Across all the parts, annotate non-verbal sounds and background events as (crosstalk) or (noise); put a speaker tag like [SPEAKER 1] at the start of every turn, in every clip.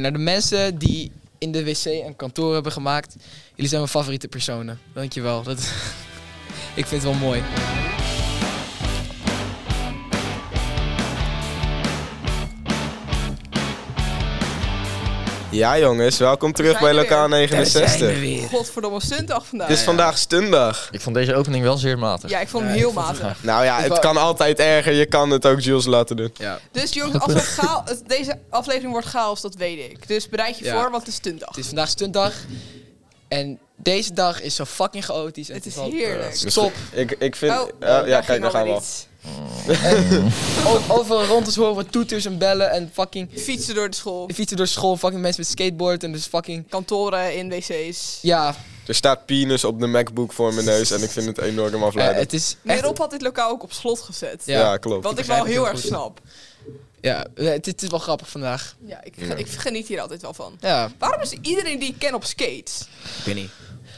[SPEAKER 1] naar de mensen die in de wc een kantoor hebben gemaakt. Jullie zijn mijn favoriete personen. Dankjewel. Dat, (laughs) ik vind het wel mooi.
[SPEAKER 2] Ja jongens, welkom terug
[SPEAKER 3] zijn
[SPEAKER 2] bij
[SPEAKER 3] we weer.
[SPEAKER 2] lokaal
[SPEAKER 1] Daar zijn
[SPEAKER 2] 69.
[SPEAKER 1] we weer.
[SPEAKER 3] Godverdomme, stuntdag vandaag.
[SPEAKER 2] Het is vandaag stundag.
[SPEAKER 4] Ik vond deze opening wel zeer matig.
[SPEAKER 3] Ja, ik vond hem
[SPEAKER 1] Ja,
[SPEAKER 3] heel
[SPEAKER 1] ik vond het
[SPEAKER 3] matig.
[SPEAKER 2] Nou ja,
[SPEAKER 1] Ik
[SPEAKER 2] het
[SPEAKER 1] wou-
[SPEAKER 2] kan altijd erger. Je kan het ook Jules laten doen.
[SPEAKER 1] Ja.
[SPEAKER 3] Dus jongens, als het
[SPEAKER 1] (laughs)
[SPEAKER 3] gaal, het- deze aflevering wordt chaos, dat weet ik. Dus bereid je
[SPEAKER 1] Ja.
[SPEAKER 3] voor, want het is stuntdag.
[SPEAKER 1] Het is vandaag stuntdag. En deze dag is zo fucking chaotisch. En
[SPEAKER 3] Het is
[SPEAKER 1] wel-
[SPEAKER 3] heerlijk.
[SPEAKER 1] Eh, Stop.
[SPEAKER 2] Ik, ik vind... eh,
[SPEAKER 3] Oh, daar
[SPEAKER 2] ja,
[SPEAKER 3] ging
[SPEAKER 2] kijk, daar gaan
[SPEAKER 3] alweer
[SPEAKER 2] we al.
[SPEAKER 3] iets.
[SPEAKER 1] O- Overal rond ons horen we toeters en bellen en fucking
[SPEAKER 3] Fietsen door de school,
[SPEAKER 1] fietsen door school. Fucking mensen met skateboard en dus fucking...
[SPEAKER 3] kantoren in wc's.
[SPEAKER 1] Ja, eh,
[SPEAKER 2] Er staat penis op de MacBook voor mijn neus en ik vind het enorm
[SPEAKER 1] eh,
[SPEAKER 2] afleidend.
[SPEAKER 1] het is
[SPEAKER 3] Meneer
[SPEAKER 1] echt...
[SPEAKER 3] Rob had dit lokaal ook op slot gezet.
[SPEAKER 1] ja.
[SPEAKER 2] ja. klopt.
[SPEAKER 3] Wat ik
[SPEAKER 1] begrijp
[SPEAKER 3] wel
[SPEAKER 1] het
[SPEAKER 3] heel
[SPEAKER 1] heel
[SPEAKER 3] erg
[SPEAKER 1] goed.
[SPEAKER 3] snap.
[SPEAKER 1] Ja, eh, het, het is wel grappig vandaag.
[SPEAKER 3] Ja, ik, ge- ik geniet hier altijd wel van.
[SPEAKER 1] Ja,
[SPEAKER 3] Waarom is iedereen die ik ken op skates?
[SPEAKER 1] ik weet niet.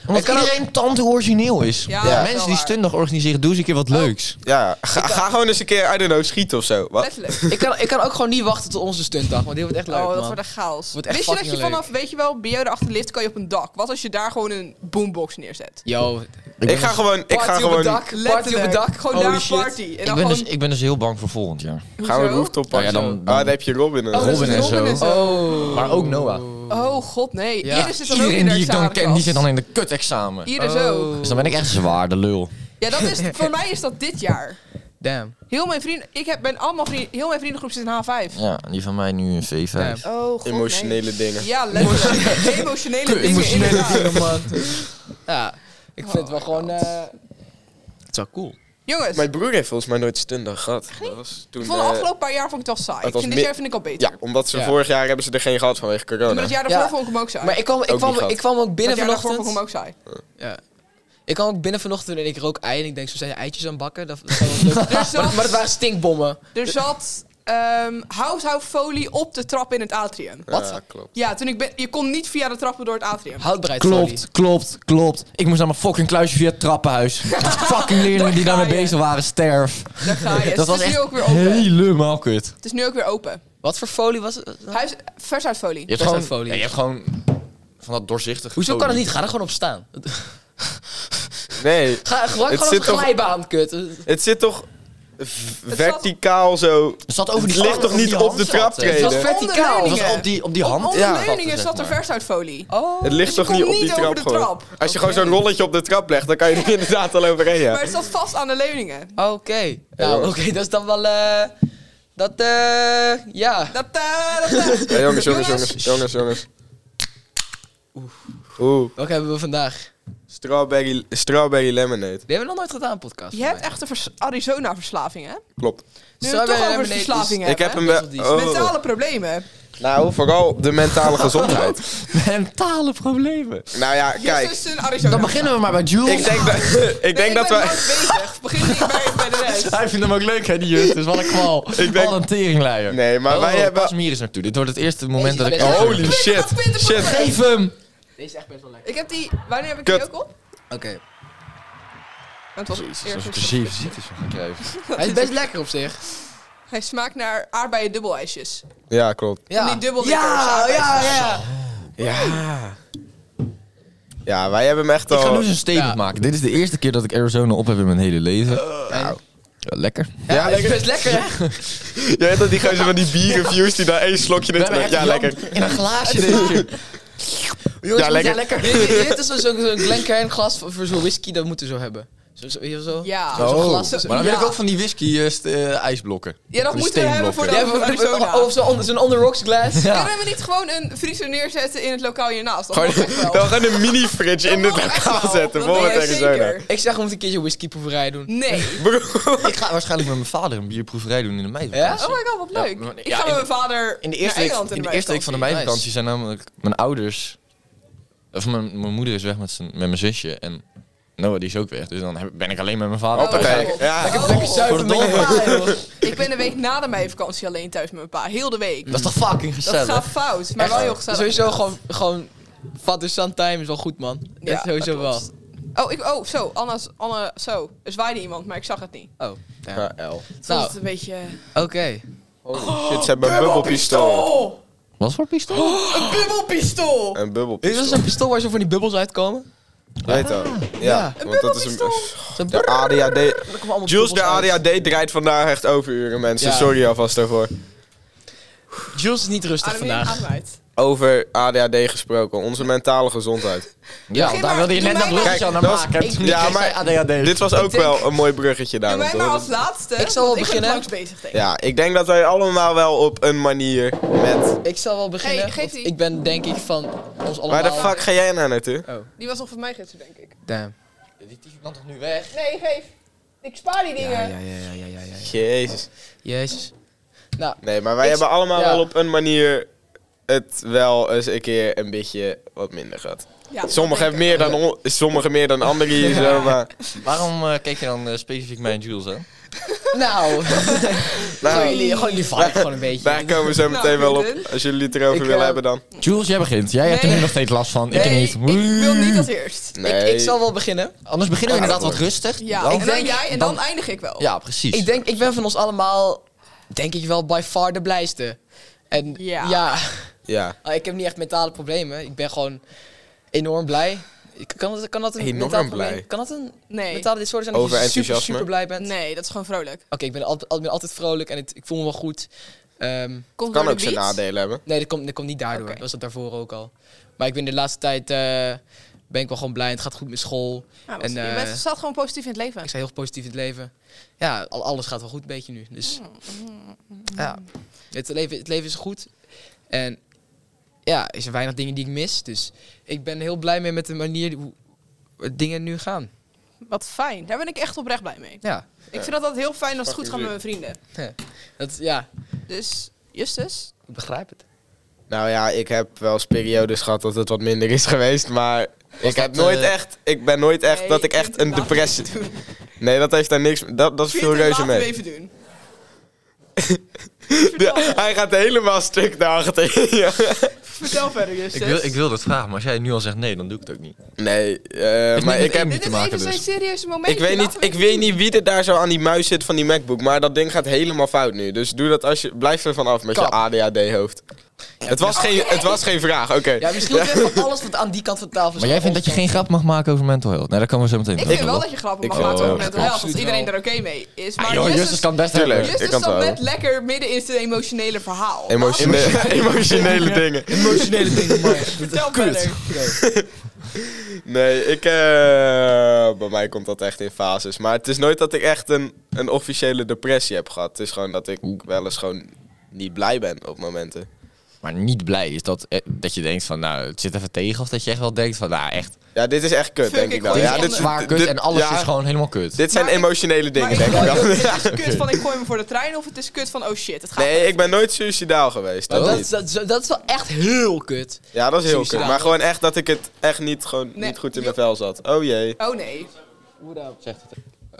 [SPEAKER 4] Omdat
[SPEAKER 1] Het kan
[SPEAKER 4] iedereen tante origineel is.
[SPEAKER 3] Ja,
[SPEAKER 4] Ja,
[SPEAKER 3] dat is wel
[SPEAKER 4] Mensen die
[SPEAKER 3] waar.
[SPEAKER 4] stundag organiseren, doe eens een keer wat leuks.
[SPEAKER 2] Ja, ga, ga gewoon eens een keer, I don't know, schieten of zo. Wat?
[SPEAKER 3] Letterlijk.
[SPEAKER 2] (laughs)
[SPEAKER 1] ik, kan, ik kan ook gewoon niet wachten tot onze stuntdag, want die wordt echt leuk,
[SPEAKER 3] oh, dat
[SPEAKER 1] man.
[SPEAKER 3] wordt echt chaos.
[SPEAKER 1] Wordt echt
[SPEAKER 3] Wist je dat je
[SPEAKER 1] fucking
[SPEAKER 3] vanaf, weet je wel, bij jou erachter lift kan je op een dak. Wat als je daar gewoon een boombox neerzet?
[SPEAKER 1] Yo, eh,
[SPEAKER 2] Ik ga gewoon... Ik ga
[SPEAKER 1] party op het
[SPEAKER 2] gewoon...
[SPEAKER 1] dak, party op
[SPEAKER 3] Letterlijk.
[SPEAKER 1] het dak.
[SPEAKER 3] Gewoon
[SPEAKER 1] Holy
[SPEAKER 3] daar een
[SPEAKER 1] shit.
[SPEAKER 3] party. En
[SPEAKER 4] Ik
[SPEAKER 3] dan
[SPEAKER 4] ben,
[SPEAKER 3] gewoon...
[SPEAKER 4] dus, ik ben dus heel bang voor volgend jaar.
[SPEAKER 2] Gaan we de
[SPEAKER 3] Hoezo?
[SPEAKER 2] rooftop
[SPEAKER 4] Nou ja,
[SPEAKER 2] pakken?
[SPEAKER 4] dan-
[SPEAKER 2] Ah,
[SPEAKER 4] dan-
[SPEAKER 2] daar heb je Robin.
[SPEAKER 3] Oh, dat is
[SPEAKER 4] Robin en zo.
[SPEAKER 3] en zo.
[SPEAKER 1] Oh.
[SPEAKER 4] Maar ook Noah.
[SPEAKER 3] Oh god, nee.
[SPEAKER 1] Ja.
[SPEAKER 3] Iris zit dan ook in
[SPEAKER 4] Iedereen
[SPEAKER 3] de
[SPEAKER 4] die ik dan ken, die
[SPEAKER 3] examenklas.
[SPEAKER 4] zit dan in de kut-examen.
[SPEAKER 3] Iris
[SPEAKER 1] Oh.
[SPEAKER 3] ook.
[SPEAKER 4] Dus dan ben ik echt zwaar de lul.
[SPEAKER 3] Ja, dat
[SPEAKER 4] (laughs)
[SPEAKER 3] is, voor mij is dat dit jaar.
[SPEAKER 1] Damn.
[SPEAKER 3] Heel mijn vrienden, ik heb, ben allemaal vrienden, heel mijn vriendengroep zit in H5.
[SPEAKER 4] Ja, die van mij nu een V5.
[SPEAKER 1] Ja.
[SPEAKER 3] Oh god,
[SPEAKER 2] Emotionele dingen.
[SPEAKER 3] nee. Ja, letterlijk. Emotionele dingen,
[SPEAKER 1] Emotionele
[SPEAKER 3] inderdaad.
[SPEAKER 1] dingen, man. Ja, ik vind
[SPEAKER 3] Oh
[SPEAKER 1] het wel
[SPEAKER 3] my
[SPEAKER 1] gewoon...
[SPEAKER 3] God.
[SPEAKER 1] eh, het is wel cool.
[SPEAKER 3] Jongens,
[SPEAKER 2] Mijn broer heeft volgens mij nooit stundag gehad. Dat was toen...
[SPEAKER 3] ik vond de
[SPEAKER 2] eh,
[SPEAKER 3] afgelopen paar jaar vond ik het wel saai.
[SPEAKER 2] het
[SPEAKER 3] Ik
[SPEAKER 2] was
[SPEAKER 3] vind dit
[SPEAKER 2] mi-
[SPEAKER 3] jaar vind ik al beter.
[SPEAKER 2] Ja, omdat ze
[SPEAKER 1] Ja.
[SPEAKER 2] vorig jaar hebben ze er geen gehad vanwege
[SPEAKER 3] Maar
[SPEAKER 2] corona.
[SPEAKER 3] het jaar daarvoor
[SPEAKER 1] Ja.
[SPEAKER 3] vond ik hem ook saai.
[SPEAKER 1] Maar ik kwam ik
[SPEAKER 2] Ook
[SPEAKER 1] kwam,
[SPEAKER 2] niet gehad.
[SPEAKER 1] ik kwam ook binnen
[SPEAKER 3] het jaar daarvoor
[SPEAKER 1] vanochtend.
[SPEAKER 3] vond ik hem ook saai.
[SPEAKER 1] Ja. Ik kwam ook binnen vanochtend en ik rook ei en ik denk, zo zijn eitjes aan het bakken. Dat, dat zou wel (laughs) leuk.
[SPEAKER 3] Er
[SPEAKER 1] maar, maar dat
[SPEAKER 3] zat,
[SPEAKER 1] waren stinkbommen.
[SPEAKER 3] er zat ehm, houthoudfolie op de trap in het atrium.
[SPEAKER 1] Wat?
[SPEAKER 2] Ja, Eh, klopt.
[SPEAKER 3] Ja, toen ik ben, je kon niet via de trappen door het atrium.
[SPEAKER 1] Houdbaarheidsfolie.
[SPEAKER 4] Klopt, klopt, klopt. Ik moest naar mijn fucking kluisje via het (laughs) trappenhuis. fucking leerlingen die
[SPEAKER 3] Daar ga
[SPEAKER 4] daarmee
[SPEAKER 3] je.
[SPEAKER 4] bezig waren, sterf.
[SPEAKER 3] Daar ga je.
[SPEAKER 4] Dat
[SPEAKER 3] het
[SPEAKER 4] was
[SPEAKER 3] is nu
[SPEAKER 4] echt
[SPEAKER 3] ook weer open.
[SPEAKER 4] helemaal kut.
[SPEAKER 3] Het is nu ook weer open.
[SPEAKER 1] Wat voor folie was het?
[SPEAKER 3] Huis, vershoutfolie.
[SPEAKER 4] Je hebt,
[SPEAKER 1] Best
[SPEAKER 4] gewoon,
[SPEAKER 1] uit folie.
[SPEAKER 4] ja, je hebt gewoon van dat doorzichtige
[SPEAKER 1] Hoezo kan het
[SPEAKER 4] folie.
[SPEAKER 1] niet? Ga er gewoon op staan.
[SPEAKER 2] Nee,
[SPEAKER 1] Ga, gebruik
[SPEAKER 2] Het
[SPEAKER 1] gewoon als
[SPEAKER 2] zit
[SPEAKER 1] een
[SPEAKER 2] toch-
[SPEAKER 1] glijbaan, kut.
[SPEAKER 2] het zit toch v- verticaal zo...
[SPEAKER 4] Het zat over die
[SPEAKER 2] Het ligt
[SPEAKER 4] hand-
[SPEAKER 2] toch niet
[SPEAKER 4] die hand
[SPEAKER 2] op de
[SPEAKER 4] zat,
[SPEAKER 2] traptreden?
[SPEAKER 4] eh.
[SPEAKER 1] Het
[SPEAKER 2] Het
[SPEAKER 1] was
[SPEAKER 2] was
[SPEAKER 1] verticaal.
[SPEAKER 3] onder de
[SPEAKER 4] Het was
[SPEAKER 3] leningen.
[SPEAKER 4] op die, op die
[SPEAKER 3] Op
[SPEAKER 4] hand.
[SPEAKER 3] onze
[SPEAKER 2] Ja.
[SPEAKER 3] leuningen zat er
[SPEAKER 4] verst.
[SPEAKER 3] vershoutfolie.
[SPEAKER 1] Oh.
[SPEAKER 2] Het ligt
[SPEAKER 3] je
[SPEAKER 2] toch niet
[SPEAKER 3] kon
[SPEAKER 2] op die
[SPEAKER 3] niet
[SPEAKER 2] trap
[SPEAKER 3] over de
[SPEAKER 2] gewoon?
[SPEAKER 3] trap.
[SPEAKER 2] Als je gewoon zo'n rolletje op de trap legt, dan kan je er inderdaad al overheen.
[SPEAKER 3] Maar
[SPEAKER 2] Ja.
[SPEAKER 3] het zat vast aan de leuningen.
[SPEAKER 1] Oké. Nou, oké,
[SPEAKER 2] jongens.
[SPEAKER 1] dat is dan wel... eh, dat, eh... ja.
[SPEAKER 3] Dat, eh, dat, eh.
[SPEAKER 2] Hey, jongens, jongens, jongens, jongens, jongens. Oeh,
[SPEAKER 1] Welke hebben we vandaag?
[SPEAKER 2] strawberry, strawberry lemonade.
[SPEAKER 1] Die hebben we nog nooit gedaan, podcast.
[SPEAKER 3] Je hebt echt een vers- Arizona-verslaving, hè?
[SPEAKER 2] Klopt.
[SPEAKER 3] Nu we het toch over verslaving
[SPEAKER 1] verslavingen.
[SPEAKER 3] hebben.
[SPEAKER 2] Ik heb
[SPEAKER 3] hè?
[SPEAKER 2] hem
[SPEAKER 1] Best wel
[SPEAKER 2] wel...
[SPEAKER 1] die-
[SPEAKER 2] Oh.
[SPEAKER 3] Mentale problemen.
[SPEAKER 2] Nou, vooral de mentale gezondheid.
[SPEAKER 4] (laughs) Mentale problemen.
[SPEAKER 2] Nou ja,
[SPEAKER 3] Kijk.
[SPEAKER 2] kijk.
[SPEAKER 3] in dus Arizona.
[SPEAKER 4] Dan beginnen we maar bij Jules.
[SPEAKER 2] Ik denk dat, (laughs) ik
[SPEAKER 3] Nee,
[SPEAKER 2] denk dat
[SPEAKER 3] ben
[SPEAKER 2] wij...
[SPEAKER 3] nooit bezig. Begin niet bij, bij de rest.
[SPEAKER 4] (laughs) Hij vindt hem ook leuk, hè, die jeugd. Dus wat een (laughs) kwal.
[SPEAKER 2] Ik denk-
[SPEAKER 4] Wat een teringleier.
[SPEAKER 2] Nee, maar
[SPEAKER 4] Oh,
[SPEAKER 2] wij
[SPEAKER 4] Pas
[SPEAKER 2] hebben...
[SPEAKER 4] hem hier eens naartoe. Dit wordt het eerste moment dat ik...
[SPEAKER 1] Deze-
[SPEAKER 4] Oh,
[SPEAKER 2] Holy shit. Shit.
[SPEAKER 4] Geef hem!
[SPEAKER 1] Deze is echt best wel lekker.
[SPEAKER 3] Ik heb die... Wanneer heb ik
[SPEAKER 2] Kut.
[SPEAKER 3] die ook op?
[SPEAKER 1] Oké.
[SPEAKER 3] (laughs) Dat was eerst
[SPEAKER 4] Alsof ik er
[SPEAKER 3] een-
[SPEAKER 4] zeven ziektes van ga krijgen.
[SPEAKER 1] Hij is best lekker op zich.
[SPEAKER 3] Hij smaakt naar aardbeien dubbelijsjes.
[SPEAKER 2] Ja, klopt.
[SPEAKER 1] Ja.
[SPEAKER 3] die dubbel
[SPEAKER 1] Ja,
[SPEAKER 3] lekkers.
[SPEAKER 1] ja, ja.
[SPEAKER 2] Ja. Ja, wij hebben hem echt
[SPEAKER 4] Ik ga nu
[SPEAKER 2] (laughs)
[SPEAKER 4] eens
[SPEAKER 2] al...
[SPEAKER 4] een statement
[SPEAKER 1] Ja.
[SPEAKER 4] maken. Dit is de eerste keer dat ik Arizona op heb in mijn hele leven.
[SPEAKER 1] Nou.
[SPEAKER 4] Ja, lekker.
[SPEAKER 1] Ja,
[SPEAKER 2] Ja,
[SPEAKER 1] het is
[SPEAKER 2] lekker.
[SPEAKER 1] best lekker, hè?
[SPEAKER 2] Jij hebt dat die gozer van die bierreviews die daar één slokje in terug... Ja, lekker.
[SPEAKER 4] In een glaasje deze keer.
[SPEAKER 1] Jongens,
[SPEAKER 2] Ja, lekker.
[SPEAKER 1] Dit, dit- dit is zo'n zo zo'n Glencairn glas voor, voor zo'n whisky, dat moeten we zo hebben. Zo, zo, hier zo.
[SPEAKER 3] Ja.
[SPEAKER 1] Zo'n glas.
[SPEAKER 4] Oh. maar dan wil
[SPEAKER 3] Ah, Ja.
[SPEAKER 4] ik ook van die whisky eh, st- eh, ijsblokken.
[SPEAKER 3] Ja, dat
[SPEAKER 4] Van die
[SPEAKER 3] moeten we hebben voor
[SPEAKER 4] steenblokken.
[SPEAKER 3] de-
[SPEAKER 1] Ja, maar-
[SPEAKER 3] Arizona.
[SPEAKER 1] oh, of zo'n on, zo'n on the rocks glass.
[SPEAKER 4] Ja.
[SPEAKER 3] Kunnen we niet gewoon een vriezer neerzetten in het lokaal hiernaast? Dat mag echt
[SPEAKER 2] Gewoon,
[SPEAKER 3] wel.
[SPEAKER 4] (laughs)
[SPEAKER 2] dan gaan een mini-fridge in
[SPEAKER 3] Dat
[SPEAKER 2] dit
[SPEAKER 3] mag echt
[SPEAKER 2] lokaal
[SPEAKER 3] wel.
[SPEAKER 2] zetten
[SPEAKER 3] Dat
[SPEAKER 2] voor het
[SPEAKER 3] weet ik
[SPEAKER 2] Arizona.
[SPEAKER 3] zeker.
[SPEAKER 1] Ik zeg, we moeten een keertje whiskyproeverij doen.
[SPEAKER 3] Nee.
[SPEAKER 2] Broer,
[SPEAKER 4] Ik ga waarschijnlijk met mijn vader een bierproeverij doen in de mei.
[SPEAKER 1] Ja?
[SPEAKER 3] Oh my god, wat leuk.
[SPEAKER 4] maar-
[SPEAKER 3] ik
[SPEAKER 4] ja,
[SPEAKER 3] ga met
[SPEAKER 4] in-
[SPEAKER 3] mijn vader
[SPEAKER 4] In de eerste,
[SPEAKER 3] naar
[SPEAKER 4] week,
[SPEAKER 3] Engeland
[SPEAKER 4] in de eerste week van de
[SPEAKER 3] mei.
[SPEAKER 4] meivakantie zijn namelijk mijn ouders... Of mijn, mijn moeder is weg met, zijn, met mijn zusje en Noah die is ook weg. Dus dan heb- ben ik alleen met mijn vader.
[SPEAKER 3] Oh,
[SPEAKER 4] thuis.
[SPEAKER 3] oké.
[SPEAKER 2] kijk. Ja.
[SPEAKER 3] Oh.
[SPEAKER 1] Lekker zuiver met je pa,
[SPEAKER 4] (laughs)
[SPEAKER 1] joh.
[SPEAKER 3] Ik ben een week na de meivakantie alleen thuis met mijn pa. Heel de week.
[SPEAKER 4] Dat is toch fucking
[SPEAKER 3] Dat
[SPEAKER 4] gezellig?
[SPEAKER 3] gaat fout, maar
[SPEAKER 1] Echt,
[SPEAKER 3] wel heel gezellig.
[SPEAKER 1] Sowieso gewoon, gewoon Father Son Time is wel goed, man.
[SPEAKER 3] Ja,
[SPEAKER 1] Ja, sowieso
[SPEAKER 3] dat
[SPEAKER 1] wel.
[SPEAKER 3] klopt. Oh, ik, oh zo, Anna, is- Anna, zo. Er zwaaide iemand, maar ik zag het niet.
[SPEAKER 1] Oh, ja.
[SPEAKER 2] Ja, L.
[SPEAKER 3] Het was
[SPEAKER 1] Nou,
[SPEAKER 3] een beetje...
[SPEAKER 1] oké.
[SPEAKER 2] Holy shit, ze hebben een bubbelpistool.
[SPEAKER 3] Oh!
[SPEAKER 4] Wat voor pistool?
[SPEAKER 1] Een
[SPEAKER 4] Eh,
[SPEAKER 1] bubbelpistool!
[SPEAKER 2] Een
[SPEAKER 1] Dit
[SPEAKER 2] bubbelpistool.
[SPEAKER 1] was een pistool waar zo van die bubbels uitkomen.
[SPEAKER 2] Weet dat?
[SPEAKER 1] Ja.
[SPEAKER 2] Ja.
[SPEAKER 3] Een
[SPEAKER 2] Want dat is een...
[SPEAKER 3] bubbelpistool.
[SPEAKER 1] Zo'n
[SPEAKER 2] De
[SPEAKER 1] brrrr,
[SPEAKER 2] ADHD...
[SPEAKER 1] er komen allemaal
[SPEAKER 2] Jules, de
[SPEAKER 1] bubbels uit.
[SPEAKER 2] ADHD draait vandaag echt overuren, mensen.
[SPEAKER 1] Ja.
[SPEAKER 2] Sorry alvast daarvoor.
[SPEAKER 1] Jules is niet rustig
[SPEAKER 3] Adem in,
[SPEAKER 1] vandaag.
[SPEAKER 3] adem uit.
[SPEAKER 2] Over ADHD gesproken, onze mentale gezondheid.
[SPEAKER 1] Ja,
[SPEAKER 3] Begin
[SPEAKER 1] daar
[SPEAKER 3] maar,
[SPEAKER 1] wilde je
[SPEAKER 3] doe
[SPEAKER 1] net dat
[SPEAKER 3] mij maar-
[SPEAKER 1] bruggetje aan
[SPEAKER 2] Kijk,
[SPEAKER 1] naar
[SPEAKER 2] dat is-
[SPEAKER 1] maken.
[SPEAKER 2] ik- Ja, maar-
[SPEAKER 3] Ah,
[SPEAKER 2] Dit was ook
[SPEAKER 3] denk-
[SPEAKER 2] wel een mooi bruggetje
[SPEAKER 3] Doe
[SPEAKER 2] daarom.
[SPEAKER 3] mij maar als laatste.
[SPEAKER 1] Ik zal wel
[SPEAKER 3] want Ik ben
[SPEAKER 1] beginnen.
[SPEAKER 3] het langst bezig, denk ik.
[SPEAKER 2] Ja, ik denk dat wij allemaal wel op een manier met...
[SPEAKER 1] Ik zal wel beginnen.
[SPEAKER 3] Hey, geef
[SPEAKER 1] want
[SPEAKER 3] die.
[SPEAKER 1] ik ben denk ik van ons allemaal...
[SPEAKER 2] Waar de fuck ga jij nou naartoe?
[SPEAKER 1] Oh,
[SPEAKER 3] Die was nog van mij gidsen, denk ik.
[SPEAKER 1] damn.
[SPEAKER 4] Die tyfus kan toch nu weg?
[SPEAKER 3] Nee, geef. Ik spaar die
[SPEAKER 1] Ja,
[SPEAKER 3] dingen.
[SPEAKER 1] ja, ja, ja, ja, ja, ja.
[SPEAKER 2] Jezus.
[SPEAKER 1] Jezus. Nou,
[SPEAKER 2] Nee, maar wij
[SPEAKER 1] Ik-
[SPEAKER 2] hebben allemaal
[SPEAKER 1] ja.
[SPEAKER 2] wel op een manier het wel eens een keer een beetje wat minder gehad.
[SPEAKER 3] Ja, dat
[SPEAKER 2] Sommigen
[SPEAKER 3] denk
[SPEAKER 2] hebben
[SPEAKER 3] ik.
[SPEAKER 2] meer dan, on- sommigen meer dan anderen hier
[SPEAKER 1] (laughs)
[SPEAKER 2] zo, maar...
[SPEAKER 4] Waarom eh, keek je dan eh, specifiek mij en Jules aan?
[SPEAKER 1] (laughs) (laughs) nou. gewoon,
[SPEAKER 2] Nou,
[SPEAKER 1] jullie, gewoon jullie vibe gewoon een beetje.
[SPEAKER 2] daar komen we zo meteen wel op. Als jullie het erover
[SPEAKER 1] Ik,
[SPEAKER 2] willen
[SPEAKER 1] eh,
[SPEAKER 2] hebben dan.
[SPEAKER 4] Jules, jij begint. Jij
[SPEAKER 3] hebt er nu Nee. nog
[SPEAKER 4] steeds last van.
[SPEAKER 3] Nee, ik wil niet als eerst.
[SPEAKER 1] Ik, ik zal wel beginnen.
[SPEAKER 4] Anders beginnen we
[SPEAKER 2] Ah,
[SPEAKER 4] inderdaad wat
[SPEAKER 2] hoor.
[SPEAKER 4] rustig.
[SPEAKER 3] Ja,
[SPEAKER 4] Dan-
[SPEAKER 3] en dan
[SPEAKER 1] denk-
[SPEAKER 3] jij en dan eindig ik wel.
[SPEAKER 4] ja, precies.
[SPEAKER 1] Ik denk, ik ben van ons allemaal, denk ik wel, by far de blijste. En
[SPEAKER 3] Ja.
[SPEAKER 1] ja, (laughs)
[SPEAKER 2] Ja.
[SPEAKER 1] ah, ik heb niet echt mentale problemen. Ik ben gewoon enorm blij. Ik- Kan dat, kan dat een
[SPEAKER 2] Enorm
[SPEAKER 1] mentaal probleem-
[SPEAKER 2] blij.
[SPEAKER 1] Kan dat een
[SPEAKER 3] Nee.
[SPEAKER 1] mentale disorder zijn dat je super,
[SPEAKER 2] Overenthousiasme.
[SPEAKER 1] super blij bent?
[SPEAKER 3] Nee, dat is gewoon vrolijk.
[SPEAKER 1] Oké, ik ben altijd, ik ben altijd vrolijk en het- ik voel me wel goed. Ehm,
[SPEAKER 3] Komt
[SPEAKER 2] Kan
[SPEAKER 3] door
[SPEAKER 2] ook
[SPEAKER 3] de
[SPEAKER 2] zijn
[SPEAKER 3] beat.
[SPEAKER 2] nadelen hebben.
[SPEAKER 1] nee, dat komt, dat komt niet daardoor.
[SPEAKER 3] Oké.
[SPEAKER 1] Dat was dat daarvoor ook al. Maar ik ben de laatste tijd eh, ben ik wel gewoon blij. en Het gaat goed met school.
[SPEAKER 3] Ja,
[SPEAKER 1] En,
[SPEAKER 3] want Ah, je
[SPEAKER 1] eh,
[SPEAKER 3] bent staat gewoon positief in het leven.
[SPEAKER 1] Ik sta heel positief in het leven. Ja, al- alles gaat wel goed een beetje nu. Dus ja, het leven, het leven is goed. En ja, er zijn weinig dingen die ik mis. Dus ik ben heel blij mee met de manier hoe dingen nu gaan.
[SPEAKER 3] Wat fijn. Daar ben ik echt oprecht blij mee.
[SPEAKER 1] Ja,
[SPEAKER 3] Ik vind dat altijd heel fijn als het goed gaat met mijn vrienden.
[SPEAKER 1] dat, ja
[SPEAKER 3] Dus, Justus,
[SPEAKER 1] ik begrijp het.
[SPEAKER 2] Nou ja, ik heb wel eens periodes gehad dat het wat minder is geweest, maar ik heb nooit
[SPEAKER 4] eh,
[SPEAKER 2] echt, ik ben nooit echt
[SPEAKER 3] Nee,
[SPEAKER 2] dat ik
[SPEAKER 3] je
[SPEAKER 2] echt
[SPEAKER 3] kunt het
[SPEAKER 2] een
[SPEAKER 3] later
[SPEAKER 2] depressie.
[SPEAKER 3] even doen.
[SPEAKER 2] Nee, dat heeft daar niks. Dat, dat is
[SPEAKER 3] Kun je het
[SPEAKER 2] veel reuze
[SPEAKER 3] later
[SPEAKER 2] mee.
[SPEAKER 3] even doen.
[SPEAKER 2] (laughs) Ja, hij gaat helemaal stuk daarachter. (laughs) ja.
[SPEAKER 3] Vertel verder, Justus.
[SPEAKER 4] ik wil, ik wil dat vragen, maar als jij nu al zegt nee, dan doe ik het ook niet.
[SPEAKER 2] Nee, eh, maar ik heb.
[SPEAKER 4] niet
[SPEAKER 3] Dit
[SPEAKER 4] te
[SPEAKER 3] is
[SPEAKER 4] maken
[SPEAKER 3] even
[SPEAKER 4] dus.
[SPEAKER 3] zo'n serieuze moment.
[SPEAKER 2] Ik weet, niet, ik weet niet wie er daar zo aan die muis zit van die MacBook, maar dat ding gaat helemaal fout nu. Dus doe dat als je. Blijf er vanaf met je
[SPEAKER 1] Kap.
[SPEAKER 2] ADHD-hoofd. Het, was geen, het was geen vraag, oké.
[SPEAKER 1] Ja, misschien moet je even alles wat aan die kant van de (laughs) tafel is.
[SPEAKER 4] Maar jij vindt dat je geen grap mag maken over mental health? Nee, daar komen we zo meteen
[SPEAKER 3] Ik vind wel dat je grappen
[SPEAKER 2] Ik
[SPEAKER 3] mag
[SPEAKER 2] vind
[SPEAKER 3] maken
[SPEAKER 2] wel.
[SPEAKER 3] over mental
[SPEAKER 1] Ja,
[SPEAKER 3] health, als
[SPEAKER 1] absoluut
[SPEAKER 3] iedereen
[SPEAKER 1] wel.
[SPEAKER 3] er oké mee is.
[SPEAKER 4] Ah,
[SPEAKER 3] Maar
[SPEAKER 4] joh, Justus
[SPEAKER 3] Justus,
[SPEAKER 4] kan best
[SPEAKER 2] Tuurlijk.
[SPEAKER 4] hebben.
[SPEAKER 2] Ik kan
[SPEAKER 3] Justus
[SPEAKER 2] het
[SPEAKER 3] zat
[SPEAKER 2] wel.
[SPEAKER 3] net lekker midden in zijn emotionele verhaal.
[SPEAKER 2] Emotionele, (laughs) emotionele dingen.
[SPEAKER 1] emotionele (laughs) dingen
[SPEAKER 3] Vertel verder.
[SPEAKER 2] Nee, ik, eh, bij mij komt dat echt in fases. Maar het is nooit dat ik echt een, een officiële depressie heb gehad. Het is gewoon dat ik wel eens gewoon niet blij ben op momenten.
[SPEAKER 4] Maar niet blij is dat, eh, dat je denkt van, nou, het zit even tegen. Of dat je echt wel denkt van, nou, echt.
[SPEAKER 2] Ja, dit is echt kut,
[SPEAKER 3] Fuck,
[SPEAKER 2] denk
[SPEAKER 3] ik
[SPEAKER 2] ik wel.
[SPEAKER 3] gooi
[SPEAKER 2] Ja,
[SPEAKER 3] het
[SPEAKER 4] dit is zwaar kut
[SPEAKER 2] dit-
[SPEAKER 4] en alles
[SPEAKER 2] ja,
[SPEAKER 4] is gewoon helemaal kut.
[SPEAKER 2] Dit zijn
[SPEAKER 3] Maar ik-
[SPEAKER 2] emotionele
[SPEAKER 3] Maar
[SPEAKER 2] dingen, denk ik
[SPEAKER 3] het (laughs)
[SPEAKER 2] wel.
[SPEAKER 3] is- het is kut van ik gooi me voor de trein of het is kut van oh shit, het
[SPEAKER 2] (laughs)
[SPEAKER 3] gaat
[SPEAKER 2] Nee, ik ben nooit suicidaal geweest. Dat
[SPEAKER 1] dat,
[SPEAKER 2] niet.
[SPEAKER 1] is- dat, is- dat is wel echt heel kut.
[SPEAKER 2] Ja, dat is heel
[SPEAKER 1] Suicidaal.
[SPEAKER 2] kut. Maar gewoon echt dat ik het echt niet, gewoon,
[SPEAKER 3] Nee,
[SPEAKER 2] niet goed in
[SPEAKER 3] joh.
[SPEAKER 2] mijn vel zat. Oh jee.
[SPEAKER 3] Oh nee.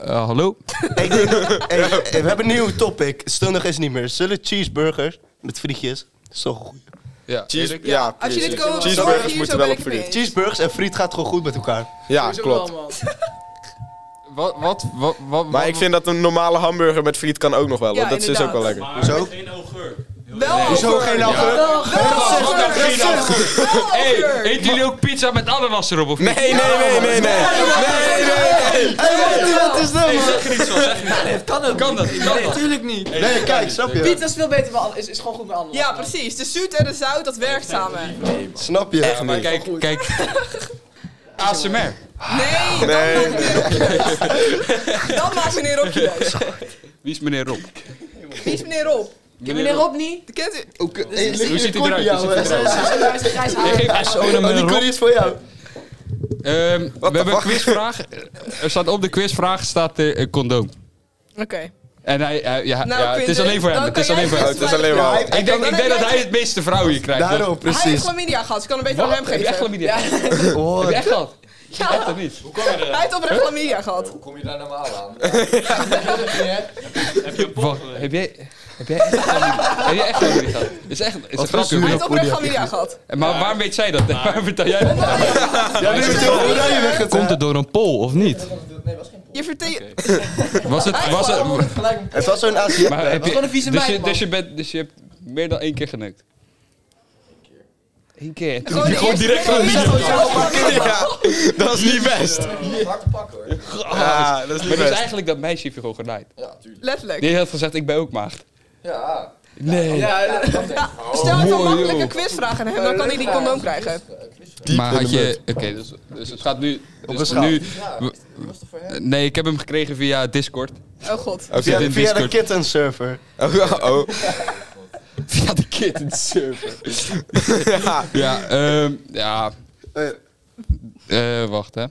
[SPEAKER 4] hallo?
[SPEAKER 5] Hey, hey, we hebben een nieuw topic. Stundig is niet meer. Zullen cheeseburgers met frietjes? Dat is toch goed.
[SPEAKER 4] Ja.
[SPEAKER 2] Cheese, ja,
[SPEAKER 3] Als je dit
[SPEAKER 2] precies.
[SPEAKER 3] koopt, zorg
[SPEAKER 2] Cheeseburgers
[SPEAKER 3] hier,
[SPEAKER 2] moeten
[SPEAKER 3] zo
[SPEAKER 2] wel
[SPEAKER 3] ben
[SPEAKER 2] op
[SPEAKER 3] ik het mee
[SPEAKER 2] friet.
[SPEAKER 3] eens.
[SPEAKER 5] Cheeseburgers en friet gaat gewoon goed met elkaar.
[SPEAKER 2] Ja, klopt.
[SPEAKER 6] Wat, wat, wat, wat,
[SPEAKER 2] Maar ik vind dat een normale hamburger met friet kan ook nog wel.
[SPEAKER 3] Ja,
[SPEAKER 2] want dat is dus ook wel
[SPEAKER 3] inderdaad.
[SPEAKER 2] lekker.
[SPEAKER 5] Zo?
[SPEAKER 3] Wel
[SPEAKER 5] Hoezo geen alcohol?
[SPEAKER 6] Hey, eten jullie ook pizza met ananas erop of
[SPEAKER 2] Nee, nee, nee, nee, nee. Nee, nee, nee.
[SPEAKER 6] Nee, zeg niet zo, zeg niet.
[SPEAKER 1] Het kan ook
[SPEAKER 6] Kan dat, kan dat.
[SPEAKER 5] Nee, kijk, snap je?
[SPEAKER 1] Pizza is veel beter, maar is, is gewoon goed met anderen.
[SPEAKER 3] Ja, precies. De zoet en de zout, dat werkt samen.
[SPEAKER 5] Snap je? Echt
[SPEAKER 6] Maar kijk, kijk. ASMR.
[SPEAKER 3] Nee, dan
[SPEAKER 2] Nee. Oh,
[SPEAKER 3] maakt meneer Rob je Dan maakt meneer Rob je neus.
[SPEAKER 6] Wie is meneer Rob?
[SPEAKER 3] Wie is meneer Rob?
[SPEAKER 6] Meneer meneer Rob
[SPEAKER 3] niet? Kent u?
[SPEAKER 6] Hoe ziet hij eruit? Hoe ziet hij eruit? Ik geef SO naar
[SPEAKER 5] Oh, die
[SPEAKER 6] meneer Rob.
[SPEAKER 5] koelie is voor jou.
[SPEAKER 6] Ehm, we hebben
[SPEAKER 2] fuck?
[SPEAKER 6] een quizvraag. Er staat op de quizvraag staat eh, een condoom.
[SPEAKER 3] Oké.
[SPEAKER 6] En hij, hij- ja,
[SPEAKER 3] Nou,
[SPEAKER 6] ja, het is
[SPEAKER 3] Quinten,
[SPEAKER 6] alleen voor hem.
[SPEAKER 3] dan
[SPEAKER 6] Het is
[SPEAKER 3] kan
[SPEAKER 6] alleen voor
[SPEAKER 3] jij
[SPEAKER 6] hem.
[SPEAKER 2] Het is alleen maar...
[SPEAKER 5] Ja,
[SPEAKER 6] Ik denk,
[SPEAKER 3] dan
[SPEAKER 6] ik
[SPEAKER 3] heb
[SPEAKER 6] denk dat
[SPEAKER 3] jij-
[SPEAKER 6] hij het meeste vrouwen hier krijgt.
[SPEAKER 5] Daarom,
[SPEAKER 3] Hij heeft
[SPEAKER 5] precies.
[SPEAKER 3] chlamydia gehad, dus ik kan hem beter
[SPEAKER 6] Wat?
[SPEAKER 3] aan hem
[SPEAKER 6] Heb je echt
[SPEAKER 3] geven.
[SPEAKER 6] chlamydia?
[SPEAKER 3] Ja,
[SPEAKER 5] Oh,
[SPEAKER 6] Heb je echt gehad?
[SPEAKER 3] Ja.
[SPEAKER 6] Echt of niet?
[SPEAKER 3] hij heeft oprecht chlamydia gehad.
[SPEAKER 4] Kom je daar normaal aan?
[SPEAKER 6] Wat? Heb jij... Heb jij echt chlamydia? Heb jij echt chlamydia gehad? Is echt... Is een grapje.
[SPEAKER 3] Hij
[SPEAKER 6] hoor.
[SPEAKER 3] heeft oprecht chlamydia gehad.
[SPEAKER 6] En Maar waarom weet zij dat? (laughs) Waarom vertel jij dat?
[SPEAKER 5] ja, nu moet je wel oranje weg. het,
[SPEAKER 6] Komt het door een pol of niet?
[SPEAKER 3] Je vertelt...
[SPEAKER 6] Was het... Was het
[SPEAKER 5] eh, Het was zo'n Azië.
[SPEAKER 6] maar heb je,
[SPEAKER 1] gewoon een vieze
[SPEAKER 6] dus
[SPEAKER 1] meid,
[SPEAKER 6] je,
[SPEAKER 1] man.
[SPEAKER 6] dus, je bent, dus je hebt meer dan één keer geneukt? één keer. Toen
[SPEAKER 3] Gewoon
[SPEAKER 4] Gewoon direct van
[SPEAKER 3] Oh,
[SPEAKER 2] Ja, dat is niet best. Ja, dat is niet
[SPEAKER 6] Maar dus
[SPEAKER 2] best.
[SPEAKER 6] eigenlijk dat meisje heeft je gewoon genaaid.
[SPEAKER 3] Letterlijk.
[SPEAKER 6] Die had gezegd, ik ben ook maagd.
[SPEAKER 7] Ja.
[SPEAKER 6] Nee.
[SPEAKER 3] Stel even een
[SPEAKER 6] Mooi,
[SPEAKER 3] makkelijke
[SPEAKER 6] joh.
[SPEAKER 3] quizvraag aan hem, dan kan hij die condoom krijgen.
[SPEAKER 6] maar had je... Oké, dus, dus het gaat nu... Dus
[SPEAKER 5] een schaal.
[SPEAKER 6] nu
[SPEAKER 7] Ja,
[SPEAKER 6] we-
[SPEAKER 7] die was toch voor
[SPEAKER 6] eh,
[SPEAKER 7] hem?
[SPEAKER 6] nee, ik heb hem gekregen via Discord.
[SPEAKER 3] Oh god.
[SPEAKER 2] Oké.
[SPEAKER 6] Zit
[SPEAKER 5] Via,
[SPEAKER 6] in
[SPEAKER 5] via de
[SPEAKER 6] Discord.
[SPEAKER 5] kitten server.
[SPEAKER 2] Oh, oh.
[SPEAKER 6] Via de kitten server.
[SPEAKER 2] Ja.
[SPEAKER 6] ja, ehm ja.
[SPEAKER 5] Eh.
[SPEAKER 6] Eh, wacht, hè.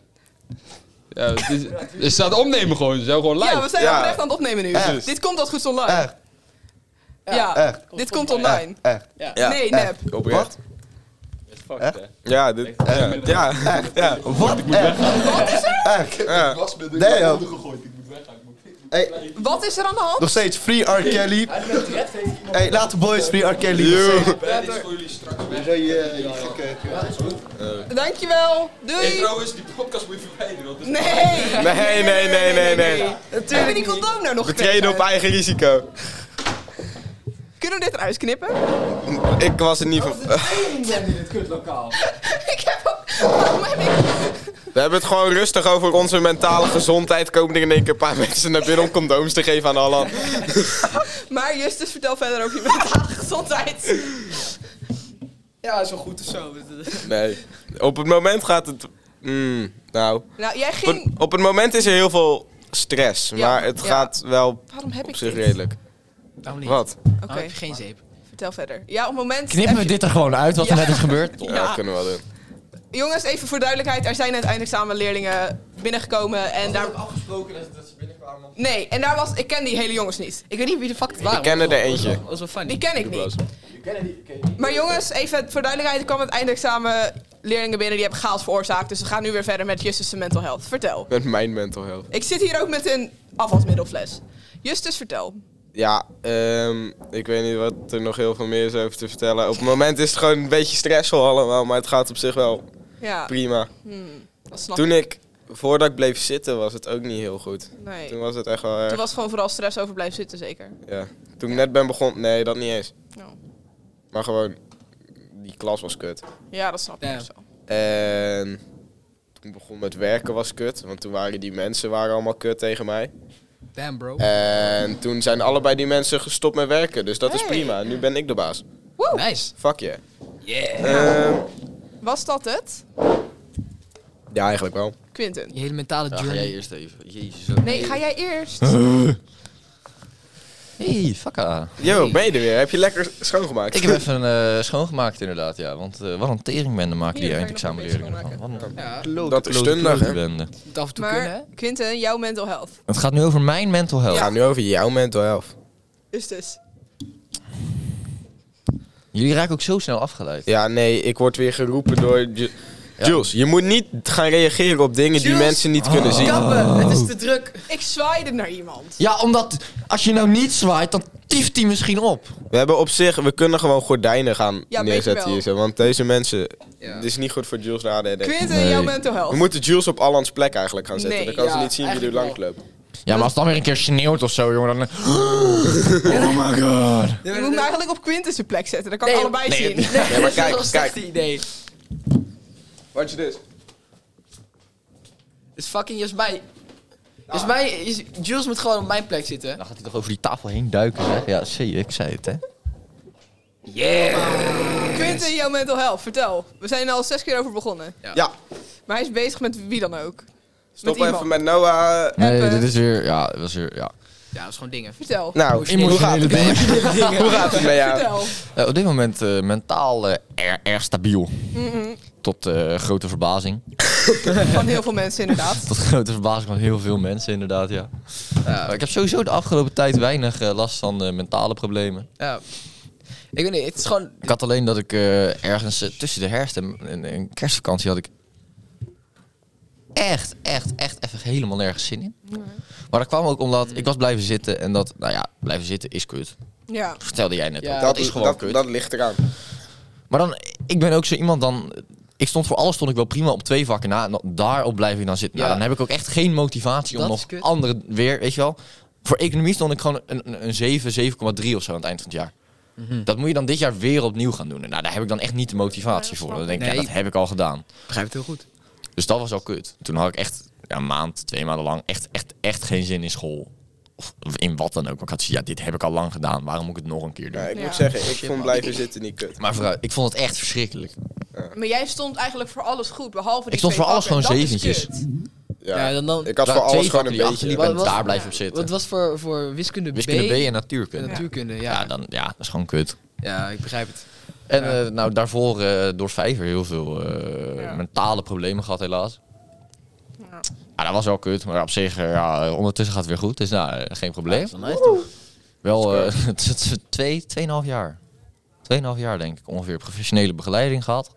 [SPEAKER 6] Ja, het, is, het staat opnemen gewoon. Zo gewoon live.
[SPEAKER 3] Ja, we zijn
[SPEAKER 2] Ja.
[SPEAKER 3] oprecht aan het opnemen nu.
[SPEAKER 5] Echt.
[SPEAKER 3] Dit komt als goed online.
[SPEAKER 5] Echt,
[SPEAKER 3] Ja,
[SPEAKER 5] echt,
[SPEAKER 3] dit komt online.
[SPEAKER 5] echt.
[SPEAKER 6] Oh,
[SPEAKER 2] Ja.
[SPEAKER 3] Nee, nep.
[SPEAKER 2] Oprecht.
[SPEAKER 5] Echt?
[SPEAKER 2] Ja, dit. Ja. Ja. Ja.
[SPEAKER 5] Wat? Echt? Echt?
[SPEAKER 2] Ja.
[SPEAKER 5] Nee, joh. Hey,
[SPEAKER 3] Wat is er aan de hand?
[SPEAKER 5] nog steeds Free R. Kelly. Hey, laat de boys Free R. Kelly.
[SPEAKER 2] Yo.
[SPEAKER 5] Zo, je- je gekke-
[SPEAKER 3] Dankjewel. Doei.
[SPEAKER 4] Trouwens, die podcast moet je verwijderen. want het
[SPEAKER 3] Nee.
[SPEAKER 2] Nee,
[SPEAKER 3] Nee,
[SPEAKER 2] nee, nee, nee, nee.
[SPEAKER 3] Hebben we die condoom nou nog
[SPEAKER 2] We treden op
[SPEAKER 3] gekregen?
[SPEAKER 2] eigen risico.
[SPEAKER 3] Kunnen we dit eruit knippen? (laughs)
[SPEAKER 2] Ik was er niet van.
[SPEAKER 7] in dit kutlokaal.
[SPEAKER 3] Ik heb ook... Waarom heb ik...
[SPEAKER 2] We hebben het gewoon rustig over onze mentale gezondheid. Komen er in één keer een paar (laughs) mensen naar binnen om condooms te geven aan Alan.
[SPEAKER 3] Maar Justus, vertel verder over je mentale gezondheid.
[SPEAKER 7] Ja, zo goed of zo.
[SPEAKER 2] Nee. Op het moment gaat het. Mm, nou.
[SPEAKER 3] Nou, jij
[SPEAKER 2] Op, het-
[SPEAKER 3] ging...
[SPEAKER 2] op het moment is er heel veel stress.
[SPEAKER 3] Ja,
[SPEAKER 2] Maar het
[SPEAKER 3] ja.
[SPEAKER 2] gaat wel
[SPEAKER 3] Waarom heb
[SPEAKER 2] op
[SPEAKER 3] ik
[SPEAKER 2] zich
[SPEAKER 3] dit?
[SPEAKER 2] redelijk.
[SPEAKER 1] Waarom niet?
[SPEAKER 2] Wat?
[SPEAKER 3] Oké,
[SPEAKER 1] Waarom heb je geen zeep?
[SPEAKER 3] vertel verder. Ja, op het moment...
[SPEAKER 4] (laughs) Knippen we dit er gewoon uit wat er
[SPEAKER 3] Ja.
[SPEAKER 4] net is (laughs) gebeurd?
[SPEAKER 2] Ja,
[SPEAKER 3] Ja.
[SPEAKER 2] dat kunnen we wel doen.
[SPEAKER 3] Jongens, even voor duidelijkheid. Er zijn uiteindelijk samen leerlingen binnengekomen en daar...
[SPEAKER 7] afgesproken dat, dat ze binnenkwamen.
[SPEAKER 3] Nee, en daar was... Ik ken die hele jongens niet. Ik weet niet wie de fuck het waren.
[SPEAKER 2] Ik ken er eentje.
[SPEAKER 1] Oh, Dat was wel funny.
[SPEAKER 3] Die ken ik niet.
[SPEAKER 7] Je kennen die, ken je die.
[SPEAKER 3] Maar jongens, even voor duidelijkheid. Er kwamen uiteindelijk samen leerlingen binnen die hebben chaos veroorzaakt. Dus we gaan nu weer verder met Justus' mental health. Vertel.
[SPEAKER 2] Met mijn mental health.
[SPEAKER 3] Ik zit hier ook met een afwasmiddelfles. Justus, vertel.
[SPEAKER 2] Ja, ehm, ik weet niet wat er nog heel veel meer is over te vertellen. Op het moment is het gewoon een beetje stressvol allemaal. Maar het gaat op zich wel
[SPEAKER 3] Ja, hmm,
[SPEAKER 2] prima.
[SPEAKER 3] dat snap
[SPEAKER 2] Toen
[SPEAKER 3] ik.
[SPEAKER 2] ik, voordat ik bleef zitten, was het ook niet heel goed.
[SPEAKER 3] Nee.
[SPEAKER 2] Toen was het echt wel
[SPEAKER 3] Toen
[SPEAKER 2] erg.
[SPEAKER 3] was gewoon vooral stress over blijven zitten, zeker.
[SPEAKER 2] Ja. Toen ik net ben begonnen, nee, dat niet eens.
[SPEAKER 3] Nou,
[SPEAKER 2] Maar gewoon, die klas was kut.
[SPEAKER 3] Ja, dat snap ik
[SPEAKER 1] Ja.
[SPEAKER 3] ook zo.
[SPEAKER 2] En toen begon met werken was kut, want toen waren die mensen waren allemaal kut tegen mij.
[SPEAKER 1] Damn, bro.
[SPEAKER 2] En toen zijn allebei die mensen gestopt met werken, dus dat is
[SPEAKER 3] Hey.
[SPEAKER 2] prima. Nu ben ik de baas.
[SPEAKER 3] Woe,
[SPEAKER 1] Nice.
[SPEAKER 2] Fuck je.
[SPEAKER 1] Yeah.
[SPEAKER 3] was dat het?
[SPEAKER 2] ja, eigenlijk wel.
[SPEAKER 3] Quinten.
[SPEAKER 1] Je hele mentale
[SPEAKER 4] Ja, ga jij
[SPEAKER 1] journey.
[SPEAKER 4] eerst even. Jezus.
[SPEAKER 3] Nee, ga jij eerst.
[SPEAKER 4] Hey, fakka.
[SPEAKER 2] Yo, ben je er weer? Heb je lekker schoongemaakt?
[SPEAKER 4] Ik heb even eh, schoongemaakt inderdaad, ja. Want eh, wat een teringbende maken die
[SPEAKER 3] Hier, kan ik
[SPEAKER 4] eindexamenleerlingen
[SPEAKER 3] nog een
[SPEAKER 4] ervan. Wat een
[SPEAKER 1] Ja,
[SPEAKER 2] dat is stundig, hè?
[SPEAKER 4] bende.
[SPEAKER 1] moet af en toe kunnen, hè?
[SPEAKER 3] Maar Quinten, jouw mental health.
[SPEAKER 4] Het gaat nu over mijn mental health.
[SPEAKER 2] We gaan nu over jouw mental health.
[SPEAKER 3] Justus.
[SPEAKER 4] Jullie raken ook zo snel afgeleid.
[SPEAKER 2] Ja, nee, ik word weer geroepen door... Ju-
[SPEAKER 4] Ja.
[SPEAKER 2] Jules, je moet niet gaan reageren op dingen die
[SPEAKER 1] Jules!
[SPEAKER 2] mensen niet kunnen
[SPEAKER 4] Oh.
[SPEAKER 2] zien.
[SPEAKER 1] Kappen, het is te druk.
[SPEAKER 3] Ik zwaaide naar iemand.
[SPEAKER 4] Ja, omdat als je nou niet zwaait, dan tieft hij misschien op.
[SPEAKER 2] We hebben op zich, we kunnen gewoon gordijnen gaan
[SPEAKER 3] Ja, weet je
[SPEAKER 2] neerzetten
[SPEAKER 3] wel.
[SPEAKER 2] hier zo. Want deze mensen,
[SPEAKER 1] Ja.
[SPEAKER 2] dit is niet goed voor Jules de ADD.
[SPEAKER 3] Quinten,
[SPEAKER 4] Nee.
[SPEAKER 3] jouw mental
[SPEAKER 2] We
[SPEAKER 3] health.
[SPEAKER 2] moeten Jules op Allans plek eigenlijk gaan zetten.
[SPEAKER 3] Nee.
[SPEAKER 2] dan kan ze
[SPEAKER 1] Ja,
[SPEAKER 2] niet zien wie er
[SPEAKER 1] eigenlijk
[SPEAKER 2] lang loopt.
[SPEAKER 4] Ja, maar als het dan weer een keer sneeuwt of zo, jongen, dan... eh, Oh my god.
[SPEAKER 3] Je moet hem eigenlijk op Quinten zijn plek zetten. Dan kan ik
[SPEAKER 1] Nee,
[SPEAKER 3] allebei
[SPEAKER 4] nee,
[SPEAKER 3] zien.
[SPEAKER 2] Nee, maar kijk,
[SPEAKER 1] dat is
[SPEAKER 2] kijk.
[SPEAKER 1] echt een idee.
[SPEAKER 2] Wat je dus?
[SPEAKER 1] Dus fucking Jasmijn. Jasmijn, is- Jules moet gewoon op mijn plek zitten.
[SPEAKER 4] Dan gaat hij toch over die tafel heen duiken, zeg. Ja, zie je, ik zei het, hè.
[SPEAKER 3] Quinten, jouw mental health. Vertel. We zijn er al zes keer over begonnen.
[SPEAKER 2] Ja,
[SPEAKER 3] Maar hij is bezig met wie dan ook.
[SPEAKER 2] stop
[SPEAKER 3] iemand.
[SPEAKER 2] even met Noah.
[SPEAKER 4] Nee,
[SPEAKER 3] Appen.
[SPEAKER 4] dit is weer... Ja, dat was weer... Ja.
[SPEAKER 1] Ja, dat is gewoon dingen.
[SPEAKER 3] Vertel.
[SPEAKER 1] Oh,
[SPEAKER 2] Nou, hoe gaat het,
[SPEAKER 1] (laughs)
[SPEAKER 2] hoe gaat het met jou?
[SPEAKER 3] Vertel.
[SPEAKER 4] Eh, op dit moment eh, mentaal eh, erg, erg stabiel. Tot eh, grote verbazing.
[SPEAKER 3] Van heel veel mensen
[SPEAKER 4] (laughs)
[SPEAKER 3] inderdaad.
[SPEAKER 4] Tot grote verbazing van heel veel mensen, inderdaad, ja.
[SPEAKER 1] Ja.
[SPEAKER 4] Maar ik heb sowieso de afgelopen tijd weinig eh, last van eh, mentale problemen.
[SPEAKER 1] Ja. Ik weet niet, het is gewoon...
[SPEAKER 4] Ik had alleen dat ik eh, ergens eh, tussen de herfst en, en, en kerstvakantie had ik echt, echt, echt even helemaal nergens zin in. Maar dat kwam ook omdat ik was blijven zitten en dat, nou ja, blijven zitten is kut.
[SPEAKER 3] Ja.
[SPEAKER 4] Vertelde jij net
[SPEAKER 1] Ja,
[SPEAKER 4] ook.
[SPEAKER 2] Dat,
[SPEAKER 4] Dat is gewoon
[SPEAKER 2] dat,
[SPEAKER 4] kut.
[SPEAKER 2] dat ligt eraan.
[SPEAKER 4] Maar dan, ik ben ook zo iemand dan. Ik stond voor alles stond ik wel prima op twee vakken na. En dan- daarop blijf ik dan zitten. Nou,
[SPEAKER 1] Ja.
[SPEAKER 4] dan heb ik ook echt geen motivatie om
[SPEAKER 1] Dat is
[SPEAKER 4] nog
[SPEAKER 1] kut.
[SPEAKER 4] andere weer, weet je wel. Voor economie stond ik gewoon een, een, een 7, 7,3 of zo aan het eind van het jaar. Dat moet je dan dit jaar weer opnieuw gaan doen. En Nou, daar heb ik dan echt niet de motivatie voor. Dan denk ik, ja,
[SPEAKER 1] Nee.
[SPEAKER 4] dat heb ik al gedaan.
[SPEAKER 1] Begrijp het heel goed.
[SPEAKER 4] Dus dat was al kut. Toen had ik echt ja, een maand, twee maanden lang echt, echt, echt geen zin in school. Of of in wat dan ook. Want ik had zoiets, ja, dit heb ik al lang gedaan. Waarom moet ik het nog een keer doen?
[SPEAKER 2] Ja, Nou, ik
[SPEAKER 3] Ja.
[SPEAKER 2] moet zeggen, ik
[SPEAKER 1] Shit,
[SPEAKER 2] vond
[SPEAKER 1] man.
[SPEAKER 2] blijven zitten niet kut.
[SPEAKER 4] Maar vooruit, ik vond het echt verschrikkelijk.
[SPEAKER 3] Maar jij stond eigenlijk voor alles goed, behalve die
[SPEAKER 4] Ik stond
[SPEAKER 3] twee
[SPEAKER 4] voor alles
[SPEAKER 3] vakken.
[SPEAKER 4] gewoon
[SPEAKER 3] Dat is
[SPEAKER 4] zeventjes.
[SPEAKER 3] kut.
[SPEAKER 1] Ja,
[SPEAKER 2] Ja.
[SPEAKER 1] dan, dan,
[SPEAKER 2] Ik had
[SPEAKER 4] Daar-
[SPEAKER 2] voor alles
[SPEAKER 4] twee
[SPEAKER 2] gewoon
[SPEAKER 4] vakken
[SPEAKER 2] een
[SPEAKER 4] die
[SPEAKER 2] beetje...
[SPEAKER 4] achterliep en
[SPEAKER 1] Wat was-
[SPEAKER 4] daar blijf je op zitten.
[SPEAKER 1] Wat was voor, voor wiskunde,
[SPEAKER 4] Wiskunde B
[SPEAKER 1] B
[SPEAKER 4] en natuurkunde.
[SPEAKER 1] en
[SPEAKER 4] Ja.
[SPEAKER 1] natuurkunde? Ja, ja,
[SPEAKER 4] dan, ja, dat is gewoon kut.
[SPEAKER 1] ik begrijp het.
[SPEAKER 4] En
[SPEAKER 1] Ja.
[SPEAKER 4] eh, nou, daarvoor eh, door vijver heel veel eh,
[SPEAKER 3] Ja.
[SPEAKER 4] mentale problemen gehad, helaas.
[SPEAKER 3] Ja.
[SPEAKER 4] Ja. dat was wel kut, maar op zich, eh, ja, ondertussen gaat het weer goed. Dus nou, eh, geen probleem.
[SPEAKER 1] Dan nice toch?
[SPEAKER 4] Wel eh, (laughs) het is twee, tweeënhalf jaar. Tweeënhalf jaar denk ik ongeveer professionele begeleiding gehad.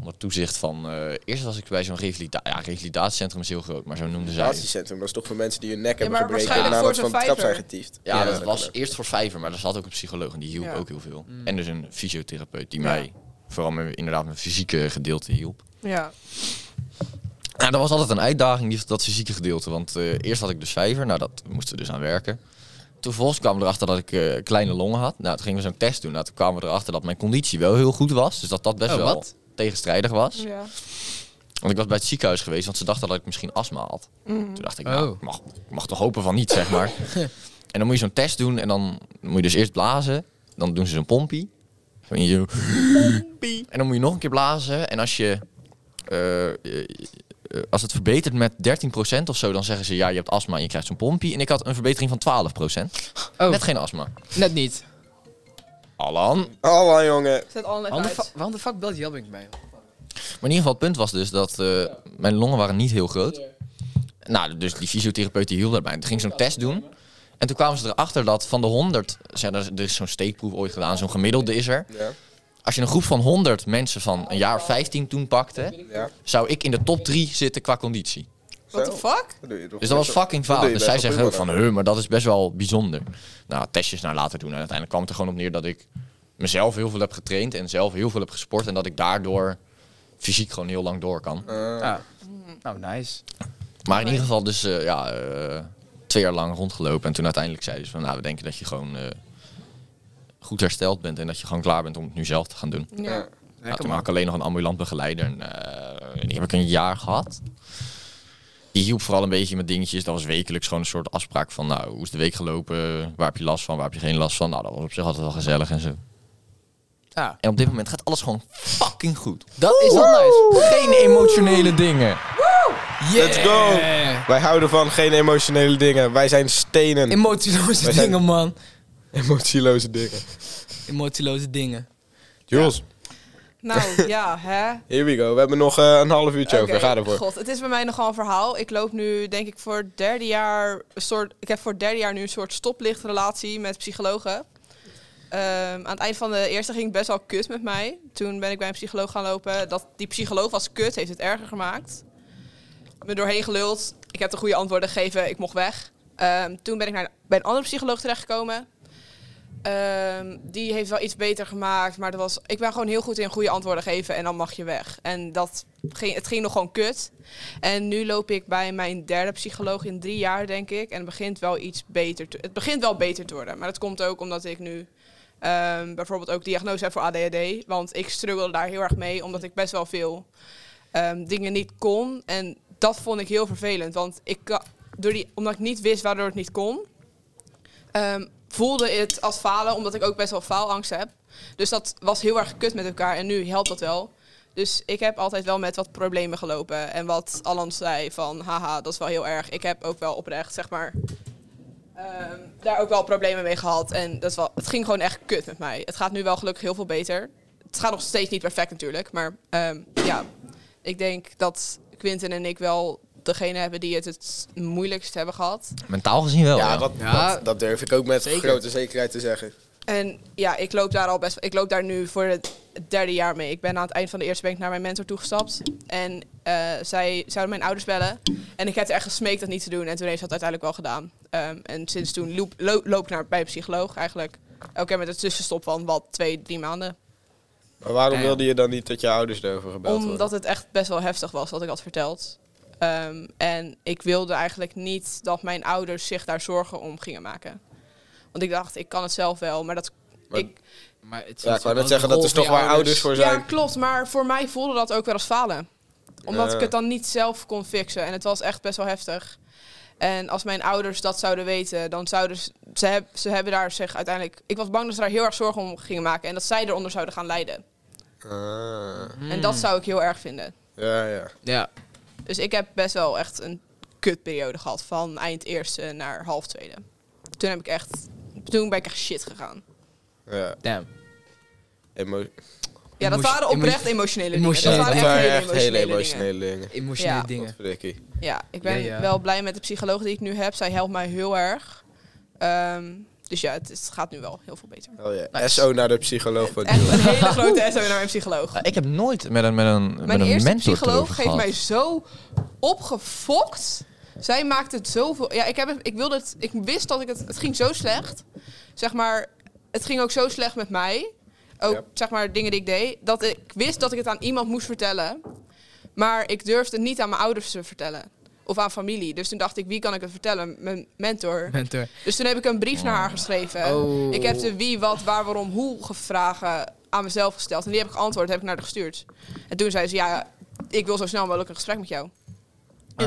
[SPEAKER 4] Onder toezicht van, eh, eerst was ik bij zo'n revalida ja, revalidatiecentrum is heel groot, maar zo noemden zij het.
[SPEAKER 2] Relatiecentrum, dat is toch voor mensen die hun nek
[SPEAKER 3] Ja,
[SPEAKER 2] hebben
[SPEAKER 3] maar
[SPEAKER 2] gebreken en
[SPEAKER 3] waarschijnlijk
[SPEAKER 2] nadat ze
[SPEAKER 3] voor
[SPEAKER 2] van de
[SPEAKER 3] zo'n
[SPEAKER 2] trap zijn getiefd.
[SPEAKER 4] Ja, dat
[SPEAKER 2] Ja.
[SPEAKER 4] was eerst voor vijver, maar daar zat ook een psycholoog en die hielp
[SPEAKER 3] Ja.
[SPEAKER 4] ook heel veel. En dus een fysiotherapeut die mij vooral mijn, inderdaad mijn fysieke gedeelte hielp.
[SPEAKER 3] Ja.
[SPEAKER 4] Nou, dat was altijd een uitdaging, die, dat fysieke gedeelte. Want eh, eerst had ik dus vijver, nou dat moesten we dus aan werken. Toen volgens kwamen we erachter dat ik eh, kleine longen had. Nou, toen gingen we zo'n test doen. Nou, toen kwamen we erachter dat mijn conditie wel heel goed was. Dus dat dat best
[SPEAKER 1] Oh,
[SPEAKER 4] wel
[SPEAKER 1] wat?
[SPEAKER 4] tegenstrijdig was.
[SPEAKER 3] ja.
[SPEAKER 4] Want ik was bij het ziekenhuis geweest, want ze dachten dat ik misschien astma had. Toen dacht ik, nou,
[SPEAKER 1] Oh.
[SPEAKER 4] ik mag, ik mag toch hopen van niet, zeg maar. en dan moet je zo'n test doen en dan moet je dus eerst blazen. Dan doen ze zo'n pompie. Zo in je- En dan moet je nog een keer blazen. En als je... eh, eh, eh, als het verbetert met 13% of zo, dan zeggen ze ja, je hebt astma en je krijgt zo'n pompie. En ik had een verbetering van 12%.
[SPEAKER 1] Oh,
[SPEAKER 4] Net
[SPEAKER 1] net,
[SPEAKER 4] geen astma.
[SPEAKER 1] niet.
[SPEAKER 4] Alan.
[SPEAKER 2] Alla jongen.
[SPEAKER 3] Zet al net
[SPEAKER 1] Waarom de,
[SPEAKER 3] uit.
[SPEAKER 1] fa- waarom de fuck belt Jelbink mij?
[SPEAKER 4] Maar in ieder geval, het punt was dus dat eh, mijn longen waren niet heel groot. Nou, dus die fysiotherapeut die hielp daarbij. Toen ging ze zo'n test doen. En toen kwamen ze erachter dat van de 100... Zeg, er is- er is zo'n steekproef ooit gedaan, zo'n gemiddelde is er.
[SPEAKER 2] Ja.
[SPEAKER 4] Als je een groep van 100 mensen van een jaar of 15 toen pakte...
[SPEAKER 2] Ja.
[SPEAKER 4] zou ik in de top 3 zitten qua conditie.
[SPEAKER 3] What the
[SPEAKER 2] Zo.
[SPEAKER 3] fuck?
[SPEAKER 2] Dat doe je toch
[SPEAKER 4] Dus dat was
[SPEAKER 2] niet?
[SPEAKER 4] fucking
[SPEAKER 2] Dat
[SPEAKER 4] fout.
[SPEAKER 2] doe je
[SPEAKER 4] Dus
[SPEAKER 2] best
[SPEAKER 4] zij
[SPEAKER 2] wel
[SPEAKER 4] zeggen ook
[SPEAKER 2] prima
[SPEAKER 4] van,
[SPEAKER 2] dan.
[SPEAKER 4] huh, maar dat is best wel bijzonder. Nou, testjes naar later doen. En uiteindelijk kwam het er gewoon op neer dat ik mezelf heel veel heb getraind en zelf heel veel heb gesport. En dat ik daardoor fysiek gewoon heel lang door kan.
[SPEAKER 1] Ja. Nou, nice.
[SPEAKER 4] Maar in ieder geval dus eh, ja, eh, twee jaar lang rondgelopen. En toen uiteindelijk zeiden ze van, nou, we denken dat je gewoon eh, goed hersteld bent. En dat je gewoon klaar bent om het nu zelf te gaan doen.
[SPEAKER 3] Ja.
[SPEAKER 2] Ja.
[SPEAKER 4] Nou,
[SPEAKER 1] Lekker
[SPEAKER 4] toen had
[SPEAKER 1] man.
[SPEAKER 4] ik alleen nog een ambulant begeleider. En, eh, die heb ik een jaar gehad. Die hielp vooral een beetje met dingetjes. Dat was wekelijks gewoon een soort afspraak van, nou, hoe is de week gelopen? Waar heb je last van? Waar heb je geen last van? Nou, dat was op zich altijd wel gezellig en zo.
[SPEAKER 1] Ja,
[SPEAKER 4] En op dit moment gaat alles gewoon fucking goed.
[SPEAKER 1] dat is wel nice.
[SPEAKER 4] Geen emotionele dingen.
[SPEAKER 2] Let's go. Wij houden van geen emotionele dingen. Wij zijn stenen.
[SPEAKER 1] Emotieloze
[SPEAKER 2] Wij zijn-
[SPEAKER 1] dingen, man.
[SPEAKER 2] Emotieloze dingen.
[SPEAKER 1] Emotieloze dingen.
[SPEAKER 2] Jules,
[SPEAKER 3] Nou, ja, hè.
[SPEAKER 2] here we go. We hebben nog eh, een half uurtje
[SPEAKER 3] Oké,
[SPEAKER 2] over. Ga ervoor.
[SPEAKER 3] God, het is bij mij nogal een verhaal. Ik loop nu, denk ik, voor het derde jaar. Een soort, ik heb voor het derde jaar nu een soort stoplichtrelatie met psychologen. Ehm, aan het eind van de eerste ging het best wel kut met mij. Toen ben ik bij een psycholoog gaan lopen. Dat, die psycholoog was kut, heeft het erger gemaakt. Me doorheen geluld. Ik heb de goede antwoorden gegeven, ik mocht weg. Ehm, toen ben ik naar, bij een andere psycholoog terechtgekomen. Ehm, die heeft wel iets beter gemaakt, maar dat was, ik ben gewoon heel goed in goede antwoorden geven en dan mag je weg. En dat ging, het ging nog gewoon kut. En nu loop ik bij mijn derde psycholoog in drie jaar, denk ik. En het begint wel iets beter te, het begint wel beter te worden. Maar dat komt ook omdat ik nu ehm, bijvoorbeeld ook diagnose heb voor ADHD. Want ik struggle daar heel erg mee, omdat ik best wel veel ehm, dingen niet kon. En dat vond ik heel vervelend, want ik, ka- door die, omdat ik niet wist waardoor het niet kon... Ehm, voelde het als falen, omdat ik ook best wel faalangst heb. Dus dat was heel erg kut met elkaar en nu helpt dat wel. Dus ik heb altijd wel met wat problemen gelopen. En wat Alan zei van, haha, dat is wel heel erg. Ik heb ook wel oprecht, zeg maar, ehm, daar ook wel problemen mee gehad. En dat is wel, het ging gewoon echt kut met mij. Het gaat nu wel gelukkig heel veel beter. Het gaat nog steeds niet perfect natuurlijk. Maar ehm, ja, ik denk dat Quinten en ik wel degene hebben die het het moeilijkst hebben gehad.
[SPEAKER 4] Mentaal gezien wel, ja.
[SPEAKER 2] Ja, dat,
[SPEAKER 1] Ja.
[SPEAKER 2] dat, dat durf ik ook met grote zekerheid te zeggen.
[SPEAKER 3] En ja, ik loop daar al best. Ik loop daar nu voor het derde jaar mee. Ik ben aan het eind van de eerste week naar mijn mentor toegestapt. En eh, zij zouden mijn ouders bellen. En ik heb er echt gesmeekt dat niet te doen. En toen heeft ze dat uiteindelijk wel gedaan. Ehm, en sinds toen loop, lo- loop ik naar bij een psycholoog eigenlijk. Elke keer met een tussenstop van wat, twee, drie maanden.
[SPEAKER 2] Maar waarom
[SPEAKER 1] Ja, ja.
[SPEAKER 2] wilde je dan niet dat je ouders erover gebeld
[SPEAKER 3] Omdat het echt best wel heftig was wat ik had verteld. Ehm, en ik wilde eigenlijk niet dat mijn ouders zich daar zorgen om gingen maken. Want ik dacht, ik kan het zelf wel. Maar dat...
[SPEAKER 2] Maar-
[SPEAKER 3] ik,
[SPEAKER 1] Maar het is
[SPEAKER 2] Ja, ik wou
[SPEAKER 1] ook
[SPEAKER 2] net zeggen,
[SPEAKER 1] een
[SPEAKER 2] dat is
[SPEAKER 1] rol
[SPEAKER 2] toch
[SPEAKER 1] van je
[SPEAKER 2] waar ouders voor
[SPEAKER 3] ja,
[SPEAKER 2] zijn.
[SPEAKER 3] klopt. Maar voor mij voelde dat ook wel als falen. Omdat
[SPEAKER 2] Ja.
[SPEAKER 3] ik het dan niet zelf kon fixen. En het was echt best wel heftig. En als mijn ouders dat zouden weten, dan zouden ze... Ze, heb- ze hebben daar zich uiteindelijk... Ik was bang dat ze daar heel erg zorgen om gingen maken. En dat zij eronder zouden gaan lijden.
[SPEAKER 2] Ah,
[SPEAKER 3] En dat zou ik heel erg vinden.
[SPEAKER 2] ja, ja.
[SPEAKER 1] Ja,
[SPEAKER 3] Dus ik heb best wel echt een kutperiode gehad. Van eind eerste naar half tweede. Toen heb ik echt... Toen ben ik echt shit gegaan.
[SPEAKER 2] ja.
[SPEAKER 1] damn.
[SPEAKER 2] Emo-
[SPEAKER 3] Ja, dat
[SPEAKER 1] Emotio-
[SPEAKER 3] waren oprecht emotionele dingen.
[SPEAKER 1] emotionele-
[SPEAKER 3] dat
[SPEAKER 2] dat
[SPEAKER 3] waren echt
[SPEAKER 2] waren
[SPEAKER 3] hele
[SPEAKER 2] echt hele
[SPEAKER 3] emotionele dingen.
[SPEAKER 2] emotionele dingen.
[SPEAKER 1] Emotionele
[SPEAKER 3] Ja.
[SPEAKER 1] dingen.
[SPEAKER 2] Godverdikkie.
[SPEAKER 3] Ja, ik ben
[SPEAKER 1] Ja, ja.
[SPEAKER 3] wel blij met de psycholoog die ik nu heb. Zij helpt mij heel erg. Ehm, dus ja, het, is- het gaat nu wel heel veel beter.
[SPEAKER 2] Oh ja.
[SPEAKER 1] Nice.
[SPEAKER 2] SO naar de psycholoog van
[SPEAKER 3] Echt
[SPEAKER 2] Jules.
[SPEAKER 3] een
[SPEAKER 1] (laughs)
[SPEAKER 3] hele grote SO naar mijn psycholoog.
[SPEAKER 4] Ja, ik heb nooit met een, met een, met
[SPEAKER 3] Mijn
[SPEAKER 4] een
[SPEAKER 3] eerste
[SPEAKER 4] mentor
[SPEAKER 3] psycholoog
[SPEAKER 4] erover
[SPEAKER 3] heeft
[SPEAKER 4] gehad.
[SPEAKER 3] mij zo opgefokt. Zij maakte het zoveel. Ja, ik, heb, het- ik, wilde het, ik wist dat ik het. Het ging zo slecht. Zeg maar, het ging ook zo slecht met mij. Ook
[SPEAKER 2] Ja.
[SPEAKER 3] zeg maar dingen die ik deed. Dat ik wist dat ik het aan iemand moest vertellen. Maar ik durfde het niet aan mijn ouders te vertellen. Of aan familie. Dus toen dacht ik, wie kan ik het vertellen? Mijn mentor.
[SPEAKER 1] Mentor.
[SPEAKER 3] Dus toen heb ik een brief naar haar geschreven.
[SPEAKER 1] Oh.
[SPEAKER 3] Ik heb de wie, wat, waar, waarom, hoe gevragen aan mezelf gesteld. En die heb ik geantwoord, heb ik naar haar gestuurd. En toen zei ze, ja, ik wil zo snel mogelijk een gesprek met jou. En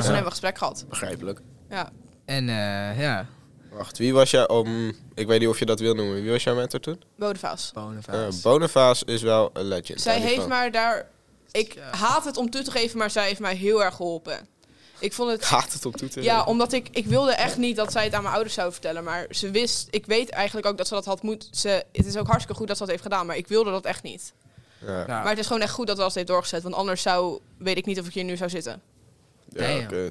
[SPEAKER 3] toen hebben we een gesprek gehad.
[SPEAKER 2] Begrijpelijk.
[SPEAKER 3] Ja.
[SPEAKER 1] En eh, ja,
[SPEAKER 2] Wacht, wie was jij om... Ik weet niet of je dat wil noemen. Wie was jouw mentor toen?
[SPEAKER 3] Bodevaas.
[SPEAKER 1] Bonavaas.
[SPEAKER 2] Eh Boniface is wel een legend.
[SPEAKER 3] Zij
[SPEAKER 2] hè, die
[SPEAKER 3] heeft
[SPEAKER 2] van-
[SPEAKER 3] mij daar... Ik
[SPEAKER 1] Ja.
[SPEAKER 3] haat het om toe te geven, maar zij heeft mij heel erg geholpen. Ik vond
[SPEAKER 2] Ik (laughs)
[SPEAKER 3] het...
[SPEAKER 2] haat het op toe te
[SPEAKER 3] Ja, omdat ik... Ik wilde echt niet dat zij het aan mijn ouders zou vertellen. Maar ze wist... Ik weet eigenlijk ook dat ze dat had moeten... Ze, het is ook hartstikke goed dat ze dat heeft gedaan. Maar ik wilde dat echt niet.
[SPEAKER 2] Ja,
[SPEAKER 1] Ja.
[SPEAKER 3] Maar het is gewoon echt goed dat we dat heeft doorgezet. Want anders zou, weet ik niet of ik hier nu zou zitten.
[SPEAKER 2] ja,
[SPEAKER 1] Damn.
[SPEAKER 2] oké.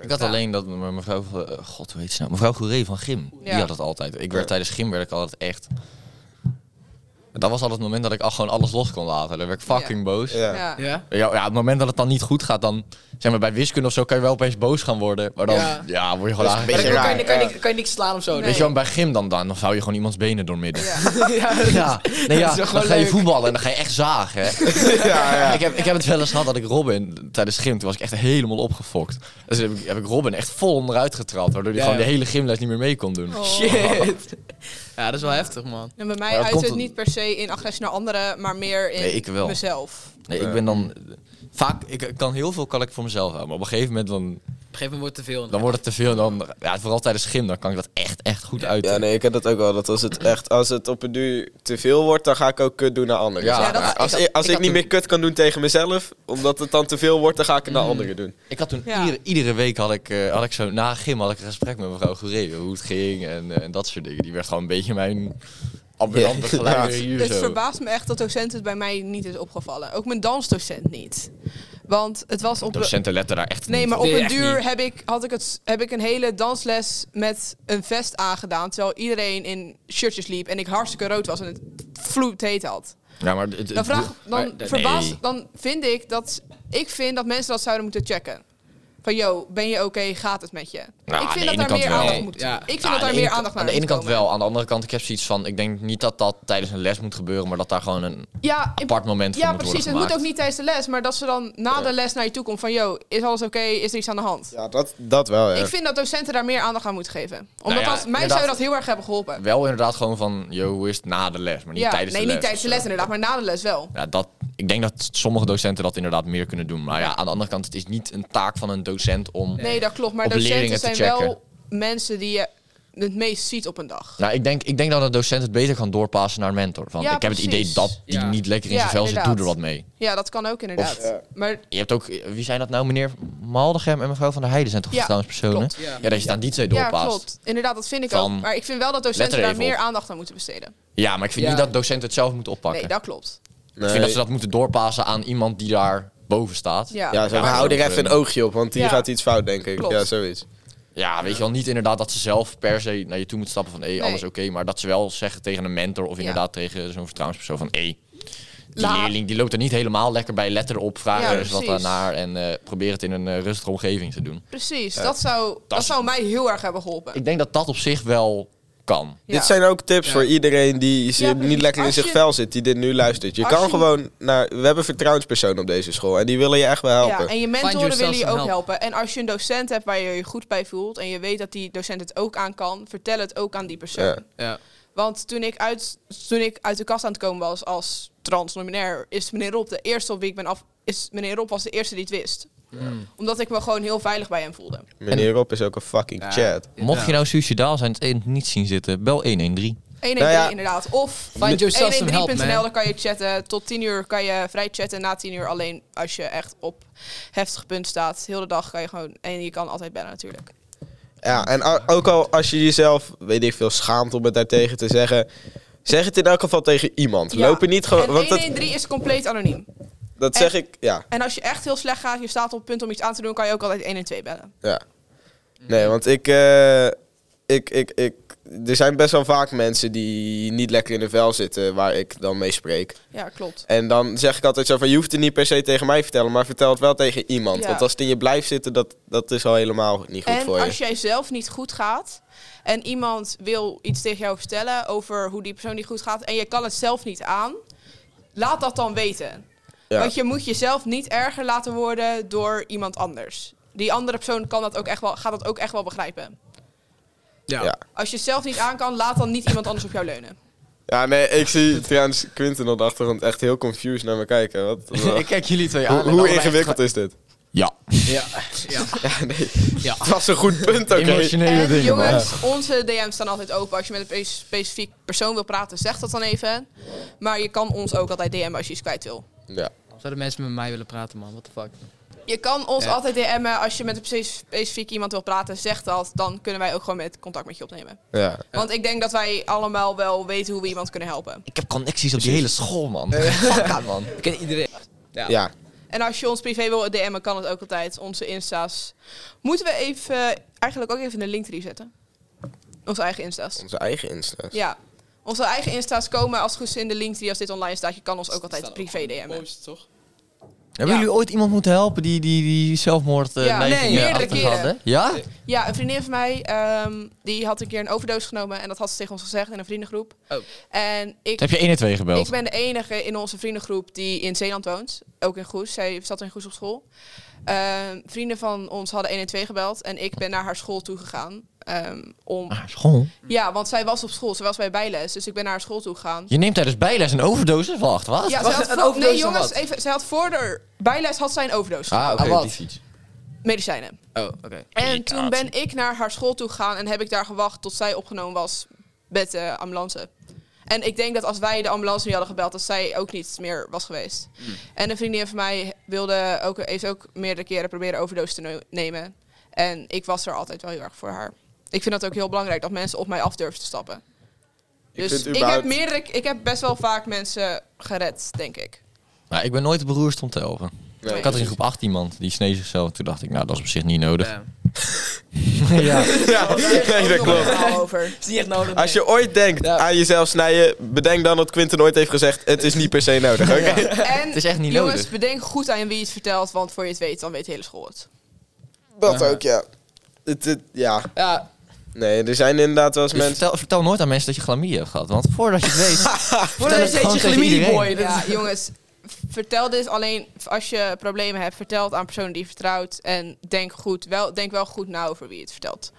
[SPEAKER 4] Ik had alleen dat me- mevrouw, eh, god hoe heet ze nou, mevrouw Goeree van Gym.
[SPEAKER 3] Ja.
[SPEAKER 4] Die had het altijd. Ik
[SPEAKER 2] Ja.
[SPEAKER 4] werd tijdens Gym werd ik altijd echt. Dat was altijd het moment dat ik al gewoon alles los kon laten. Dan werd ik fucking boos. Ja.
[SPEAKER 2] Ja.
[SPEAKER 3] Ja.
[SPEAKER 1] Ja?
[SPEAKER 4] Ja, het moment dat het dan niet goed gaat, dan zeg maar bij wiskunde of zo kan je wel opeens boos gaan worden. Maar dan
[SPEAKER 1] Ja.
[SPEAKER 4] ja. word je gewoon
[SPEAKER 2] Dat is een
[SPEAKER 1] Maar
[SPEAKER 4] eigenlijk.
[SPEAKER 1] dan kan je,
[SPEAKER 2] raar,
[SPEAKER 1] dan kan je,
[SPEAKER 2] ja.
[SPEAKER 1] niks- kan je niks slaan of zo.
[SPEAKER 3] Nee.
[SPEAKER 4] Weet je wel, bij Gym dan, dan, dan zou je gewoon iemands benen doormidden. dus (laughs) Ja.
[SPEAKER 1] ja,
[SPEAKER 4] Ja, nee, ja.
[SPEAKER 1] Dat is wel
[SPEAKER 4] dan
[SPEAKER 1] gewoon
[SPEAKER 4] ga je
[SPEAKER 1] leuk.
[SPEAKER 4] voetballen en dan ga je echt
[SPEAKER 1] (laughs)
[SPEAKER 4] zagen. Hè? Ik, heb, ik heb het wel eens gehad dat ik Robin tijdens gym, toen was ik echt helemaal opgefokt. Dus heb ik, heb ik Robin echt vol onderuit getrapt, waardoor hij
[SPEAKER 1] Ja,
[SPEAKER 4] gewoon
[SPEAKER 1] ja.
[SPEAKER 4] de hele gymles niet meer mee kon doen.
[SPEAKER 1] (laughs)
[SPEAKER 3] Oh.
[SPEAKER 1] Shit. Ja, dat is wel heftig, man.
[SPEAKER 3] En Nou, bij
[SPEAKER 4] Maar
[SPEAKER 3] mij
[SPEAKER 4] dat
[SPEAKER 3] uit
[SPEAKER 4] komt
[SPEAKER 3] het
[SPEAKER 4] om-
[SPEAKER 3] niet per se in agressie naar anderen, maar meer in
[SPEAKER 4] Nee, ik wel.
[SPEAKER 3] mezelf.
[SPEAKER 4] Nee, ik ben dan... Vaak, ik kan heel veel kan ik voor mezelf houden, maar op een gegeven moment dan,
[SPEAKER 1] Op een gegeven moment wordt het te veel.
[SPEAKER 4] dan wordt het te veel. en Dan, ja, vooral tijdens gym, dan kan ik dat echt, echt goed uiten.
[SPEAKER 2] Ja, nee, ik heb dat ook wel. Dat als het echt, als het op een duur te veel wordt, dan ga ik ook kut doen naar anderen.
[SPEAKER 4] Ja,
[SPEAKER 2] zeg maar.
[SPEAKER 3] dat- ik
[SPEAKER 2] als
[SPEAKER 3] had-
[SPEAKER 2] ik, als
[SPEAKER 3] ik
[SPEAKER 2] ik,
[SPEAKER 3] had
[SPEAKER 2] niet
[SPEAKER 3] toen-
[SPEAKER 2] meer kut kan doen tegen mezelf, omdat het dan te veel wordt, dan ga ik het naar
[SPEAKER 3] Mm.
[SPEAKER 2] anderen doen.
[SPEAKER 4] Ik had toen
[SPEAKER 3] Ja.
[SPEAKER 4] iedere, iedere week, had ik, eh, had ik zo, na gym had ik een gesprek met mevrouw Goeree, hoe het ging en, eh, en dat soort dingen. Die werd gewoon een beetje mijn ambulant begeleider hier
[SPEAKER 3] Het
[SPEAKER 4] zo.
[SPEAKER 3] verbaast me echt (laughs) dat docenten het bij mij niet is opgevallen. Ook mijn dansdocent niet. Want het was op...
[SPEAKER 4] Docenten letten daar echt
[SPEAKER 3] Nee,
[SPEAKER 4] niet
[SPEAKER 3] maar
[SPEAKER 4] op.
[SPEAKER 3] op
[SPEAKER 1] Nee,
[SPEAKER 3] een
[SPEAKER 1] echt
[SPEAKER 3] duur
[SPEAKER 1] niet.
[SPEAKER 3] heb ik, had ik, het, heb ik een hele dansles met een vest aangedaan. Terwijl iedereen in shirtjes liep en ik hartstikke rood was en het vloedheet had.
[SPEAKER 4] Ja, maar het-
[SPEAKER 3] Dan,
[SPEAKER 4] het-
[SPEAKER 3] vraag, dan,
[SPEAKER 4] Eh, nee.
[SPEAKER 3] verbaas, dan vind ik dat... Ik vind dat mensen dat zouden moeten checken. Van, yo, ben je oké? Gaat het met je?
[SPEAKER 4] Nou,
[SPEAKER 3] ik
[SPEAKER 4] aan de
[SPEAKER 3] vind
[SPEAKER 4] ene
[SPEAKER 3] dat daar
[SPEAKER 4] kant
[SPEAKER 3] meer
[SPEAKER 4] wel.
[SPEAKER 3] aandacht moet...
[SPEAKER 1] Ja.
[SPEAKER 3] Ik vind
[SPEAKER 4] Ja,
[SPEAKER 3] dat daar
[SPEAKER 4] aan de
[SPEAKER 3] meer
[SPEAKER 4] ene-
[SPEAKER 3] aandacht naar
[SPEAKER 4] Aan de ene
[SPEAKER 3] moet
[SPEAKER 4] kant
[SPEAKER 3] komen.
[SPEAKER 4] wel, aan de andere kant, ik heb zoiets van... Ik denk niet dat dat tijdens een les moet gebeuren, maar dat daar gewoon een
[SPEAKER 3] Ja, in-
[SPEAKER 4] apart moment voor
[SPEAKER 3] ja
[SPEAKER 4] moet
[SPEAKER 3] precies. Het
[SPEAKER 4] worden
[SPEAKER 3] moet ook
[SPEAKER 4] gemaakt.
[SPEAKER 3] niet tijdens de les. Maar dat ze dan na de les naar je toe komt van... Yo, is alles oké? Is er iets aan de hand?
[SPEAKER 2] Ja, dat, dat wel, ja.
[SPEAKER 3] Ik vind dat docenten daar meer aandacht aan moeten geven. Omdat
[SPEAKER 4] Nou
[SPEAKER 3] dat,
[SPEAKER 4] ja,
[SPEAKER 3] mij zou
[SPEAKER 4] inderdaad.
[SPEAKER 3] dat heel erg hebben geholpen.
[SPEAKER 4] Wel inderdaad gewoon van, yo, hoe is het na de les? Maar niet
[SPEAKER 3] ja,
[SPEAKER 4] tijdens
[SPEAKER 3] nee,
[SPEAKER 4] de les.
[SPEAKER 3] niet tijdens de les inderdaad, maar na de les wel.
[SPEAKER 4] Ja, dat, ik denk dat sommige docenten dat inderdaad meer kunnen doen. Maar ja, aan de andere kant, het is niet een taak van een docent om...
[SPEAKER 3] Nee, dat klopt. Maar
[SPEAKER 4] Op
[SPEAKER 3] docenten
[SPEAKER 4] leerlingen
[SPEAKER 3] zijn
[SPEAKER 4] te
[SPEAKER 3] wel mensen die je het meest ziet op een dag.
[SPEAKER 4] Nou, ik denk, ik denk dat een docent het beter kan doorpassen naar een mentor. Van,
[SPEAKER 3] Ja,
[SPEAKER 4] ik heb het
[SPEAKER 3] precies.
[SPEAKER 4] idee dat die
[SPEAKER 1] Ja.
[SPEAKER 4] niet lekker in
[SPEAKER 3] Ja,
[SPEAKER 4] zijn vel zit, doe er
[SPEAKER 3] inderdaad.
[SPEAKER 4] wat mee.
[SPEAKER 3] Ja, dat kan ook inderdaad.
[SPEAKER 2] ja.
[SPEAKER 3] Maar
[SPEAKER 4] Je hebt ook, wie zijn dat nou, meneer Maldegem en mevrouw van der Heijden zijn toch
[SPEAKER 3] Ja,
[SPEAKER 4] vertrouwenspersonen?
[SPEAKER 1] Ja.
[SPEAKER 3] klopt.
[SPEAKER 4] Ja, dat je het aan die twee
[SPEAKER 3] ja,
[SPEAKER 4] doorpaast.
[SPEAKER 3] klopt. Inderdaad, dat vind ik
[SPEAKER 4] Van-
[SPEAKER 3] ook. Maar ik vind wel dat
[SPEAKER 4] Let
[SPEAKER 3] docenten
[SPEAKER 4] er
[SPEAKER 3] daar
[SPEAKER 4] even
[SPEAKER 3] meer
[SPEAKER 4] op.
[SPEAKER 3] aandacht aan moeten besteden.
[SPEAKER 4] Ja, maar ik vind
[SPEAKER 1] Ja.
[SPEAKER 4] niet dat docenten het zelf moeten oppakken.
[SPEAKER 3] Nee, dat klopt.
[SPEAKER 2] Nee.
[SPEAKER 4] Ik vind dat ze dat moeten doorpassen aan iemand die daar boven staat.
[SPEAKER 3] Ja,
[SPEAKER 2] Ja, zo,
[SPEAKER 4] maar-
[SPEAKER 2] hou er even een oogje op, want hier
[SPEAKER 3] Ja.
[SPEAKER 2] gaat iets fout, denk ik.
[SPEAKER 3] Klopt.
[SPEAKER 2] Ja, zoiets.
[SPEAKER 4] Ja, weet je wel, niet inderdaad dat ze zelf per se naar je toe moet stappen van... hé, alles oké, maar dat ze wel zeggen tegen een mentor of
[SPEAKER 3] Ja.
[SPEAKER 4] inderdaad tegen zo'n vertrouwenspersoon van... hé, die
[SPEAKER 3] La-
[SPEAKER 4] leerling die loopt er niet helemaal lekker bij, let erop, vraag
[SPEAKER 3] Ja,
[SPEAKER 4] er eens wat
[SPEAKER 3] precies.
[SPEAKER 4] daarnaar... en eh, probeer het in een eh, rustige omgeving te doen.
[SPEAKER 3] precies. Dat, zou, dat
[SPEAKER 4] is-
[SPEAKER 3] zou mij heel erg hebben geholpen.
[SPEAKER 4] Ik denk dat dat op zich wel kan.
[SPEAKER 3] Ja.
[SPEAKER 2] Dit zijn ook tips voor iedereen die zi-
[SPEAKER 3] Ja, precies.
[SPEAKER 2] niet lekker in
[SPEAKER 3] Als
[SPEAKER 2] zich
[SPEAKER 3] je-
[SPEAKER 2] vel zit, die dit nu luistert. Je
[SPEAKER 3] Als
[SPEAKER 2] kan
[SPEAKER 3] je-
[SPEAKER 2] gewoon naar... We hebben een vertrouwenspersoon op deze school en die willen je echt wel helpen.
[SPEAKER 3] Ja, en je
[SPEAKER 1] Find
[SPEAKER 3] mentoren
[SPEAKER 1] yourself
[SPEAKER 3] willen je ook
[SPEAKER 1] some help.
[SPEAKER 3] helpen. En als je een docent hebt waar je je goed bij voelt en je weet dat die docent het ook aan kan, vertel het ook aan die persoon.
[SPEAKER 2] Ja.
[SPEAKER 1] Ja.
[SPEAKER 3] Want toen ik, uit, toen ik uit de kast aan het komen was als transnominair, is meneer Rob de eerste op wie ik ben af. Is meneer Rob was de eerste die het wist.
[SPEAKER 4] Hmm.
[SPEAKER 3] Omdat ik me gewoon heel veilig bij hem voelde.
[SPEAKER 2] Meneer Rob is ook een fucking chat.
[SPEAKER 4] Mocht je nou suicidaal zijn en het niet zien zitten, bel 113.
[SPEAKER 3] 113
[SPEAKER 2] Nou ja.
[SPEAKER 3] inderdaad. Of
[SPEAKER 1] Find yourself some help,
[SPEAKER 3] 113.nl, daar
[SPEAKER 1] man.
[SPEAKER 3] kan je chatten. Tot 10 uur kan je vrij chatten. Na 10 uur alleen als je echt op heftig punt staat. Heel de dag kan je gewoon... En je kan altijd bellen natuurlijk.
[SPEAKER 2] Ja, en a- ook al als je jezelf, weet ik veel, schaamt om het daartegen te zeggen... Zeg het in elk geval tegen iemand.
[SPEAKER 3] Ja.
[SPEAKER 2] Loop er niet gewoon...
[SPEAKER 3] en
[SPEAKER 2] Want dat,
[SPEAKER 3] 113 is compleet anoniem.
[SPEAKER 2] dat zeg ik... Ja,
[SPEAKER 3] En als je echt heel slecht gaat, je staat op het punt om iets aan te doen, kan je ook altijd 112 bellen.
[SPEAKER 2] ja. Nee, want ik, eh, ik, ik, ik... Er zijn best wel vaak mensen die niet lekker in de vel zitten... waar ik dan mee spreek.
[SPEAKER 3] Ja, klopt.
[SPEAKER 2] En dan zeg ik altijd zo van, je hoeft het niet per se tegen mij te vertellen, maar vertel het wel tegen iemand.
[SPEAKER 3] Ja.
[SPEAKER 2] Want als het in je blijft zitten, dat, dat is al helemaal niet goed
[SPEAKER 3] En
[SPEAKER 2] voor je.
[SPEAKER 3] als jij zelf niet goed gaat en iemand wil iets tegen jou vertellen over hoe die persoon niet goed gaat en je kan het zelf niet aan, laat dat dan weten.
[SPEAKER 2] Ja.
[SPEAKER 3] Want je moet jezelf niet erger laten worden door iemand anders. Die andere persoon kan dat ook echt wel, gaat dat ook echt wel begrijpen.
[SPEAKER 1] Ja.
[SPEAKER 2] Ja.
[SPEAKER 3] Als je het zelf niet aan kan, laat dan niet iemand anders op jou leunen.
[SPEAKER 2] Ja, nee, ik zie trouwens Quinten op de achtergrond echt heel confused naar me kijken. (laughs) Wat,
[SPEAKER 4] ik kijk jullie twee
[SPEAKER 2] hoe hoe ingewikkeld is dit?
[SPEAKER 4] Ja.
[SPEAKER 1] Ja. ja.
[SPEAKER 2] (laughs) Ja, nee.
[SPEAKER 1] Ja.
[SPEAKER 2] Het was een goed punt, oké.
[SPEAKER 4] Emotionele
[SPEAKER 3] En
[SPEAKER 4] dingen, man.
[SPEAKER 3] Eh, jongens, onze DM's staan altijd open. Als je met een pe- specifiek persoon wil praten, zeg dat dan even. Maar je kan ons ook altijd DM als je iets kwijt wil.
[SPEAKER 2] Ja.
[SPEAKER 1] Zouden mensen met mij willen praten, man? What the fuck?
[SPEAKER 3] Je kan ons
[SPEAKER 1] Ja.
[SPEAKER 3] altijd DM'en als je met een spec- specifiek iemand wil praten, zeg dat. Dan kunnen wij ook gewoon met contact met je opnemen.
[SPEAKER 2] Ja.
[SPEAKER 3] Want ik denk dat wij allemaal wel weten hoe we iemand kunnen helpen.
[SPEAKER 4] Ik heb connecties op die hele school, man.
[SPEAKER 3] Eh.
[SPEAKER 4] (laughs) Fuck aan, man.
[SPEAKER 1] Ik ken iedereen. Ja.
[SPEAKER 2] ja.
[SPEAKER 3] En als je ons privé wil DM'en, kan het ook altijd. Onze Insta's. Moeten we even, eh, eigenlijk ook even een link erin zetten? Onze eigen Insta's.
[SPEAKER 2] Onze eigen Insta.
[SPEAKER 3] Ja. Onze eigen Insta's komen als het goed is in de link die als dit online staat. Je kan ons ook altijd privé DM'en.
[SPEAKER 7] Post, toch?
[SPEAKER 4] Hebben
[SPEAKER 3] Ja.
[SPEAKER 4] jullie ooit iemand moeten helpen die, die, die zelfmoord eh
[SPEAKER 3] Ja, nee,
[SPEAKER 4] neigingen
[SPEAKER 3] meerdere
[SPEAKER 4] achter
[SPEAKER 3] keren.
[SPEAKER 4] hadden? Ja?
[SPEAKER 3] Ja, een vriendin van mij, ehm, die had een keer een overdoos genomen. En dat had ze tegen ons gezegd in een vriendengroep.
[SPEAKER 1] Oh.
[SPEAKER 3] En ik
[SPEAKER 4] Heb je 1 en 2 gebeld?
[SPEAKER 3] Ik ben de enige in onze vriendengroep die in Zeeland woont. Ook in Goes. Zij zat in Goes op school. Ehm, vrienden van ons hadden 1 en 2 gebeld. En ik ben naar haar school toegegaan. ehm om...
[SPEAKER 4] Ah, school.
[SPEAKER 3] Ja, want zij was op school. Ze was bij bijles. Dus ik ben naar haar school toegegaan.
[SPEAKER 4] Je neemt tijdens bijles een overdosis? Wacht, wat?
[SPEAKER 3] Ja,
[SPEAKER 1] Was
[SPEAKER 3] zij had
[SPEAKER 1] het een
[SPEAKER 3] voor-
[SPEAKER 1] overdosis
[SPEAKER 3] Nee,
[SPEAKER 1] of
[SPEAKER 3] jongens,
[SPEAKER 1] wat?
[SPEAKER 3] even. Zij had voor de bijles had zij een overdosis.
[SPEAKER 4] Ah, oké,
[SPEAKER 1] Ah, wat?
[SPEAKER 4] die fiets.
[SPEAKER 3] Medicijnen.
[SPEAKER 1] Oh, oké.
[SPEAKER 3] En toen ben ik naar haar school toegegaan. En heb ik daar gewacht tot zij opgenomen was met de ambulance. En ik denk dat als wij de ambulance niet hadden gebeld, dat zij ook niet meer was geweest.
[SPEAKER 2] Hmm.
[SPEAKER 3] En een vriendin van mij wilde ook, heeft ook meerdere keren proberen overdoos te no- nemen. En ik was er altijd wel heel erg voor haar. Ik vind dat ook heel belangrijk dat mensen op mij af durven te stappen.
[SPEAKER 2] Ik
[SPEAKER 3] Dus
[SPEAKER 2] vind
[SPEAKER 3] ik,
[SPEAKER 2] überhaupt-
[SPEAKER 3] heb meerdere, ik heb best wel vaak mensen gered, denk ik.
[SPEAKER 4] Nou, ik ben nooit beroerd om te helpen.
[SPEAKER 2] Nee.
[SPEAKER 4] Ik had er in groep 8 iemand, die snee zichzelf. Toen dacht ik, nou, dat is op zich niet nodig.
[SPEAKER 1] Ja.
[SPEAKER 2] (laughs) (laughs) Ja, nee, dat klopt.
[SPEAKER 3] Over.
[SPEAKER 1] Is niet echt nodig.
[SPEAKER 2] Als je ooit denkt
[SPEAKER 1] Ja.
[SPEAKER 2] aan jezelf snijden, bedenk dan dat Quinten nooit heeft gezegd, het is niet per se nodig, oké?
[SPEAKER 4] (laughs)
[SPEAKER 3] En
[SPEAKER 4] Het is echt niet
[SPEAKER 3] jongens,
[SPEAKER 4] nodig.
[SPEAKER 3] bedenk goed aan wie je het vertelt, want voor je het weet, dan weet de hele school het.
[SPEAKER 2] Dat ook, ja. Het, het- ja.
[SPEAKER 1] Ja,
[SPEAKER 2] Nee, er zijn inderdaad wel eens
[SPEAKER 4] Dus
[SPEAKER 2] mensen...
[SPEAKER 4] vertel, vertel nooit aan mensen dat je chlamydia hebt gehad. Want voordat je het
[SPEAKER 3] (laughs)
[SPEAKER 4] weet...
[SPEAKER 1] voor de
[SPEAKER 4] het gewoon
[SPEAKER 1] steeds je
[SPEAKER 4] tegen
[SPEAKER 1] chlamydia
[SPEAKER 4] iedereen.
[SPEAKER 1] boy. Dat
[SPEAKER 3] Ja,
[SPEAKER 1] is-
[SPEAKER 3] jongens, v- vertel dit alleen als je problemen hebt. Vertel het aan personen die je vertrouwt. En denk, goed, wel, denk wel goed na over wie je het vertelt.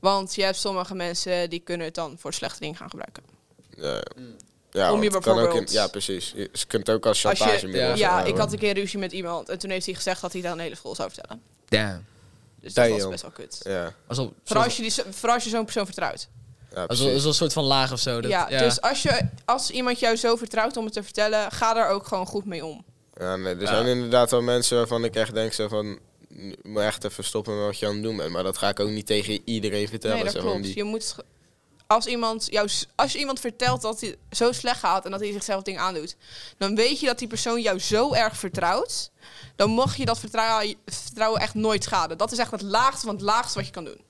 [SPEAKER 3] Want je hebt sommige mensen die kunnen het dan voor slechte dingen gaan gebruiken.
[SPEAKER 2] Ja, ja
[SPEAKER 3] Mm. Om
[SPEAKER 2] want
[SPEAKER 3] je
[SPEAKER 2] het kan ook in,
[SPEAKER 3] bijvoorbeeld-
[SPEAKER 2] ja, precies. Je ze kunt het ook als
[SPEAKER 3] Als je-
[SPEAKER 2] chantagemiddel.
[SPEAKER 1] Ja,
[SPEAKER 3] Ja,
[SPEAKER 1] is
[SPEAKER 3] ik had een keer ruzie met iemand en toen heeft hij gezegd dat hij dat aan de hele school zou vertellen.
[SPEAKER 1] Damn.
[SPEAKER 3] Dus dat was
[SPEAKER 2] Damn.
[SPEAKER 3] best wel kut.
[SPEAKER 2] Ja,
[SPEAKER 1] Alsof,
[SPEAKER 3] Vooral als je, die, vooral als je zo'n persoon vertrouwt.
[SPEAKER 4] Oh,
[SPEAKER 2] ja,
[SPEAKER 1] alsof,
[SPEAKER 2] precies.
[SPEAKER 1] alsof een soort van laag of zo. Dat,
[SPEAKER 3] ja, dus als, je, als iemand jou zo vertrouwt om het te vertellen, ga daar ook gewoon goed mee om.
[SPEAKER 2] Ja, nee, er zijn inderdaad wel mensen waarvan ik echt denk zo van... "Nu moet je echt even stoppen met wat je aan het doen bent. Maar dat ga ik ook niet tegen iedereen vertellen.
[SPEAKER 3] Nee, dat
[SPEAKER 2] zo van
[SPEAKER 3] klopt.
[SPEAKER 2] die-
[SPEAKER 3] Je moet, ge- als, iemand jou, s- als je iemand vertelt dat hij zo slecht gaat en dat hij zichzelf dingen aandoet, dan weet je dat die persoon jou zo erg vertrouwt. Dan mag je dat vertrouwen, vertrouwen echt nooit schaden. Dat is echt het laagste van het laagste wat je kan doen.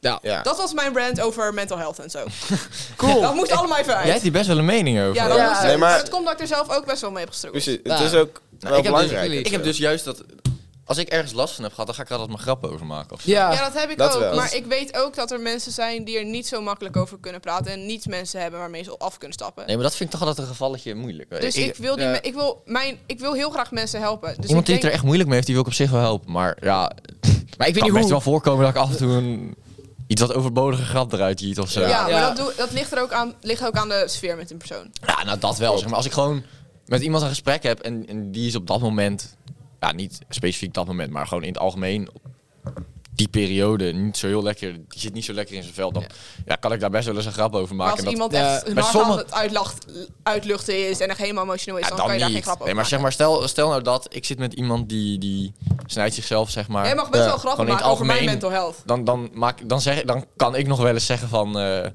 [SPEAKER 1] Ja.
[SPEAKER 2] Ja.
[SPEAKER 3] Dat was mijn rant over mental health en zo. cool. Dat moest allemaal even
[SPEAKER 4] Jij hebt
[SPEAKER 3] uit.
[SPEAKER 4] hier best wel een mening over.
[SPEAKER 3] Ja, dat
[SPEAKER 1] Ja.
[SPEAKER 3] moest
[SPEAKER 2] Nee,
[SPEAKER 3] uit.
[SPEAKER 2] maar-
[SPEAKER 3] Het komt dat Nou, ik er zelf ook best wel mee heb gestruggeld.
[SPEAKER 2] Precies,
[SPEAKER 1] Ja.
[SPEAKER 2] Dus het is ook
[SPEAKER 1] ik heb
[SPEAKER 2] wel
[SPEAKER 1] dus
[SPEAKER 2] belangrijk.
[SPEAKER 1] jullie-
[SPEAKER 2] of
[SPEAKER 1] Ik
[SPEAKER 4] Ik heb
[SPEAKER 2] zo.
[SPEAKER 4] dus juist dat Als ik ergens last van heb gehad, dan ga ik er altijd mijn grappen over maken. Of zo.
[SPEAKER 1] Ja,
[SPEAKER 3] Ja, dat heb ik
[SPEAKER 2] dat
[SPEAKER 3] ook.
[SPEAKER 2] wel.
[SPEAKER 3] Maar ik weet ook dat er mensen zijn die er niet zo makkelijk over kunnen praten. En niet mensen hebben waarmee ze af kunnen stappen.
[SPEAKER 4] Nee, maar dat vind ik toch altijd een gevalletje moeilijk.
[SPEAKER 3] Dus ik, wil die,
[SPEAKER 1] ja.
[SPEAKER 3] me- ik, wil mijn, ik wil heel graag mensen helpen. Dus
[SPEAKER 4] iemand
[SPEAKER 3] ik
[SPEAKER 4] die
[SPEAKER 3] denk,
[SPEAKER 4] het er echt moeilijk mee heeft, die wil ik op zich wel helpen. Maar ja,
[SPEAKER 1] maar ik weet
[SPEAKER 4] kan
[SPEAKER 1] niet
[SPEAKER 4] best
[SPEAKER 1] hoe.
[SPEAKER 4] wel voorkomen dat ik af en toe een, iets wat overbodige grap eruit jiet of zo.
[SPEAKER 3] ja,
[SPEAKER 4] Ja.
[SPEAKER 3] maar
[SPEAKER 1] Ja.
[SPEAKER 3] Dat, doe, dat ligt er ook aan, ligt ook aan de sfeer met een persoon.
[SPEAKER 4] nou dat wel. Zeg maar als ik gewoon met iemand een gesprek heb en, en die is op dat moment, ja, niet specifiek dat moment, maar gewoon in het algemeen op die periode niet zo heel lekker, die zit niet zo lekker in zijn vel, dan ja. kan ik daar best wel eens een grap over
[SPEAKER 3] Maar
[SPEAKER 4] maken.
[SPEAKER 3] als
[SPEAKER 4] En dat-
[SPEAKER 3] iemand
[SPEAKER 1] Ja,
[SPEAKER 3] echt
[SPEAKER 4] maar
[SPEAKER 3] hard aan
[SPEAKER 4] sommige-
[SPEAKER 3] het uitlacht, uitluchten is en echt helemaal emotioneel is,
[SPEAKER 4] Ja,
[SPEAKER 3] dan, kan je daar geen grap over
[SPEAKER 4] nee, maar zeg maar, stel, stel nou dat ik zit met iemand die, die snijdt zichzelf, zeg maar.
[SPEAKER 3] Jij mag best
[SPEAKER 2] Ja.
[SPEAKER 3] wel grappen
[SPEAKER 4] Gewoon in
[SPEAKER 3] maken
[SPEAKER 4] het
[SPEAKER 3] over mijn
[SPEAKER 4] algemeen-
[SPEAKER 3] mental health.
[SPEAKER 4] dan, dan, maak, dan, zeg, dan kan ik nog wel eens zeggen van... eh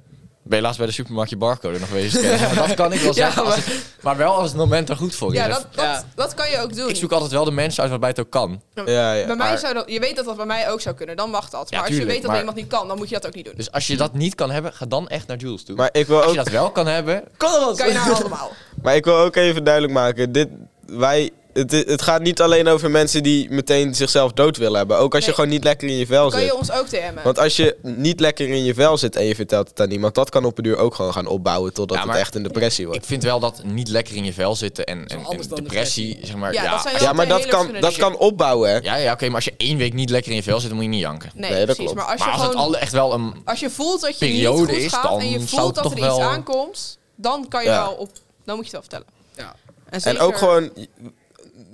[SPEAKER 4] ben je laatst bij de supermarkt je barcode nog
[SPEAKER 3] (laughs)
[SPEAKER 4] wezen scannen? dat kan ik wel
[SPEAKER 1] Ja,
[SPEAKER 4] zeggen. als het- Maar, wel als het moment er goed voor is.
[SPEAKER 3] Ja,
[SPEAKER 4] Dus
[SPEAKER 3] dat, dat,
[SPEAKER 1] Ja.
[SPEAKER 3] dat kan je ook doen.
[SPEAKER 4] Ik zoek altijd wel de mensen uit waarbij het ook kan.
[SPEAKER 2] Ja, ja.
[SPEAKER 3] bij mij
[SPEAKER 4] maar-
[SPEAKER 3] zou dat, je weet dat dat bij mij ook zou kunnen, dan mag dat.
[SPEAKER 4] Ja,
[SPEAKER 3] Maar als je
[SPEAKER 4] tuurlijk,
[SPEAKER 3] weet dat
[SPEAKER 4] maar-
[SPEAKER 3] iemand niet kan, dan moet je dat ook niet doen.
[SPEAKER 4] Dus als je dat niet kan hebben, ga dan echt naar Jules toe.
[SPEAKER 2] Maar ik wil
[SPEAKER 4] als je
[SPEAKER 2] ook
[SPEAKER 4] dat wel kan hebben...
[SPEAKER 3] kan je nou
[SPEAKER 4] (laughs)
[SPEAKER 3] allemaal.
[SPEAKER 2] Maar ik wil ook even duidelijk maken, dit, wij, het, het gaat niet alleen over mensen die meteen zichzelf dood willen hebben. Ook als je
[SPEAKER 3] Nee.
[SPEAKER 2] gewoon niet lekker in je vel
[SPEAKER 3] Kan je
[SPEAKER 2] zit.
[SPEAKER 3] ons ook DM'en?
[SPEAKER 2] Want als je niet lekker in je vel zit en je vertelt het aan iemand, dat kan op een duur ook gewoon gaan opbouwen totdat
[SPEAKER 4] Ja, maar-
[SPEAKER 2] het echt een depressie wordt.
[SPEAKER 4] Ik vind wel dat niet lekker in je vel zitten en, en, en
[SPEAKER 1] anders dan
[SPEAKER 4] depressie, zeg maar...
[SPEAKER 3] Ja,
[SPEAKER 4] Ja,
[SPEAKER 3] dat zijn
[SPEAKER 4] als-
[SPEAKER 3] wel
[SPEAKER 2] Ja, maar dat
[SPEAKER 3] twee hele
[SPEAKER 2] kan,
[SPEAKER 3] verschillende
[SPEAKER 2] dat kan opbouwen, hè?
[SPEAKER 4] ja, ja oké, maar als je één week niet lekker in je vel zit, dan moet je niet janken.
[SPEAKER 3] Nee,
[SPEAKER 2] Nee, dat
[SPEAKER 3] precies.
[SPEAKER 2] klopt.
[SPEAKER 3] Maar als je
[SPEAKER 4] maar als
[SPEAKER 3] gewoon
[SPEAKER 4] het al echt wel een...
[SPEAKER 3] als je voelt dat je niet
[SPEAKER 4] periode
[SPEAKER 3] goed
[SPEAKER 4] is,
[SPEAKER 3] gaat
[SPEAKER 4] dan
[SPEAKER 3] en je
[SPEAKER 4] zou
[SPEAKER 3] voelt
[SPEAKER 4] het
[SPEAKER 3] dat er
[SPEAKER 4] toch
[SPEAKER 3] iets
[SPEAKER 4] wel-
[SPEAKER 3] aankomt, dan kan je
[SPEAKER 2] Ja.
[SPEAKER 3] wel op. Dan moet je het wel vertellen.
[SPEAKER 1] Ja.
[SPEAKER 2] En
[SPEAKER 3] zeker-
[SPEAKER 2] ook gewoon,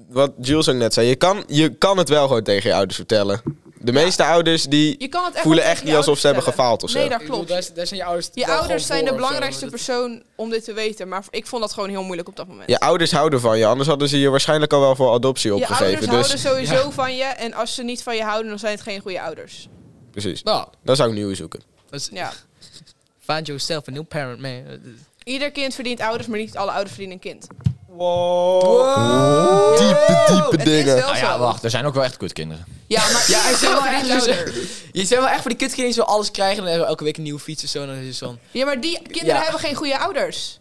[SPEAKER 2] wat Jules ook net zei, je kan, je kan het wel gewoon tegen je ouders vertellen. De meeste ouders die
[SPEAKER 3] Je kan het echt
[SPEAKER 2] voelen
[SPEAKER 3] wel
[SPEAKER 2] echt
[SPEAKER 3] tegen
[SPEAKER 2] niet
[SPEAKER 3] je
[SPEAKER 2] alsof ze hebben
[SPEAKER 3] ouders
[SPEAKER 2] gefaald of zo.
[SPEAKER 3] vertellen.
[SPEAKER 2] Nee,
[SPEAKER 3] Nee,
[SPEAKER 1] Ik
[SPEAKER 3] dat
[SPEAKER 1] bedoel,
[SPEAKER 3] klopt.
[SPEAKER 1] daar, daar zijn je ouders.
[SPEAKER 3] Je
[SPEAKER 1] wel
[SPEAKER 3] ouders
[SPEAKER 1] gewoon
[SPEAKER 3] zijn de
[SPEAKER 1] voor of zo,
[SPEAKER 3] belangrijkste
[SPEAKER 1] dat-
[SPEAKER 3] persoon om dit te weten, maar ik vond dat gewoon heel moeilijk op dat moment.
[SPEAKER 2] Je ouders houden van je, anders hadden ze je waarschijnlijk al wel voor adoptie
[SPEAKER 3] Je
[SPEAKER 2] opgegeven.
[SPEAKER 3] ouders
[SPEAKER 2] dus,
[SPEAKER 3] houden sowieso van je en als ze niet van je houden, dan zijn het geen goede ouders.
[SPEAKER 2] Precies,
[SPEAKER 1] Nou,
[SPEAKER 2] dan zou ik nieuwe zoeken.
[SPEAKER 1] dat is-
[SPEAKER 3] Ja.
[SPEAKER 1] find yourself a new parent, man. Dat is-
[SPEAKER 3] Ieder kind verdient ouders, maar niet alle ouders verdienen een kind.
[SPEAKER 2] Diepe,
[SPEAKER 3] Oh,
[SPEAKER 2] diepe
[SPEAKER 3] het is
[SPEAKER 2] dingen.
[SPEAKER 3] wel
[SPEAKER 4] Nou
[SPEAKER 3] zo.
[SPEAKER 4] ja, wacht, er zijn ook wel echt kutkinderen.
[SPEAKER 3] Ja, maar
[SPEAKER 1] Ja,
[SPEAKER 2] (laughs)
[SPEAKER 3] ja, (laughs)
[SPEAKER 1] ik
[SPEAKER 3] is
[SPEAKER 1] zou
[SPEAKER 3] wel
[SPEAKER 1] wel
[SPEAKER 3] verdient
[SPEAKER 1] echt
[SPEAKER 3] ouder.
[SPEAKER 1] Je zijn wel echt voor die kutkinderen die zo alles krijgen en dan hebben we elke week een nieuwe fiets of zo. En dan is het zo van,
[SPEAKER 3] Ja, maar die kinderen
[SPEAKER 1] Ja.
[SPEAKER 3] hebben geen goede ouders.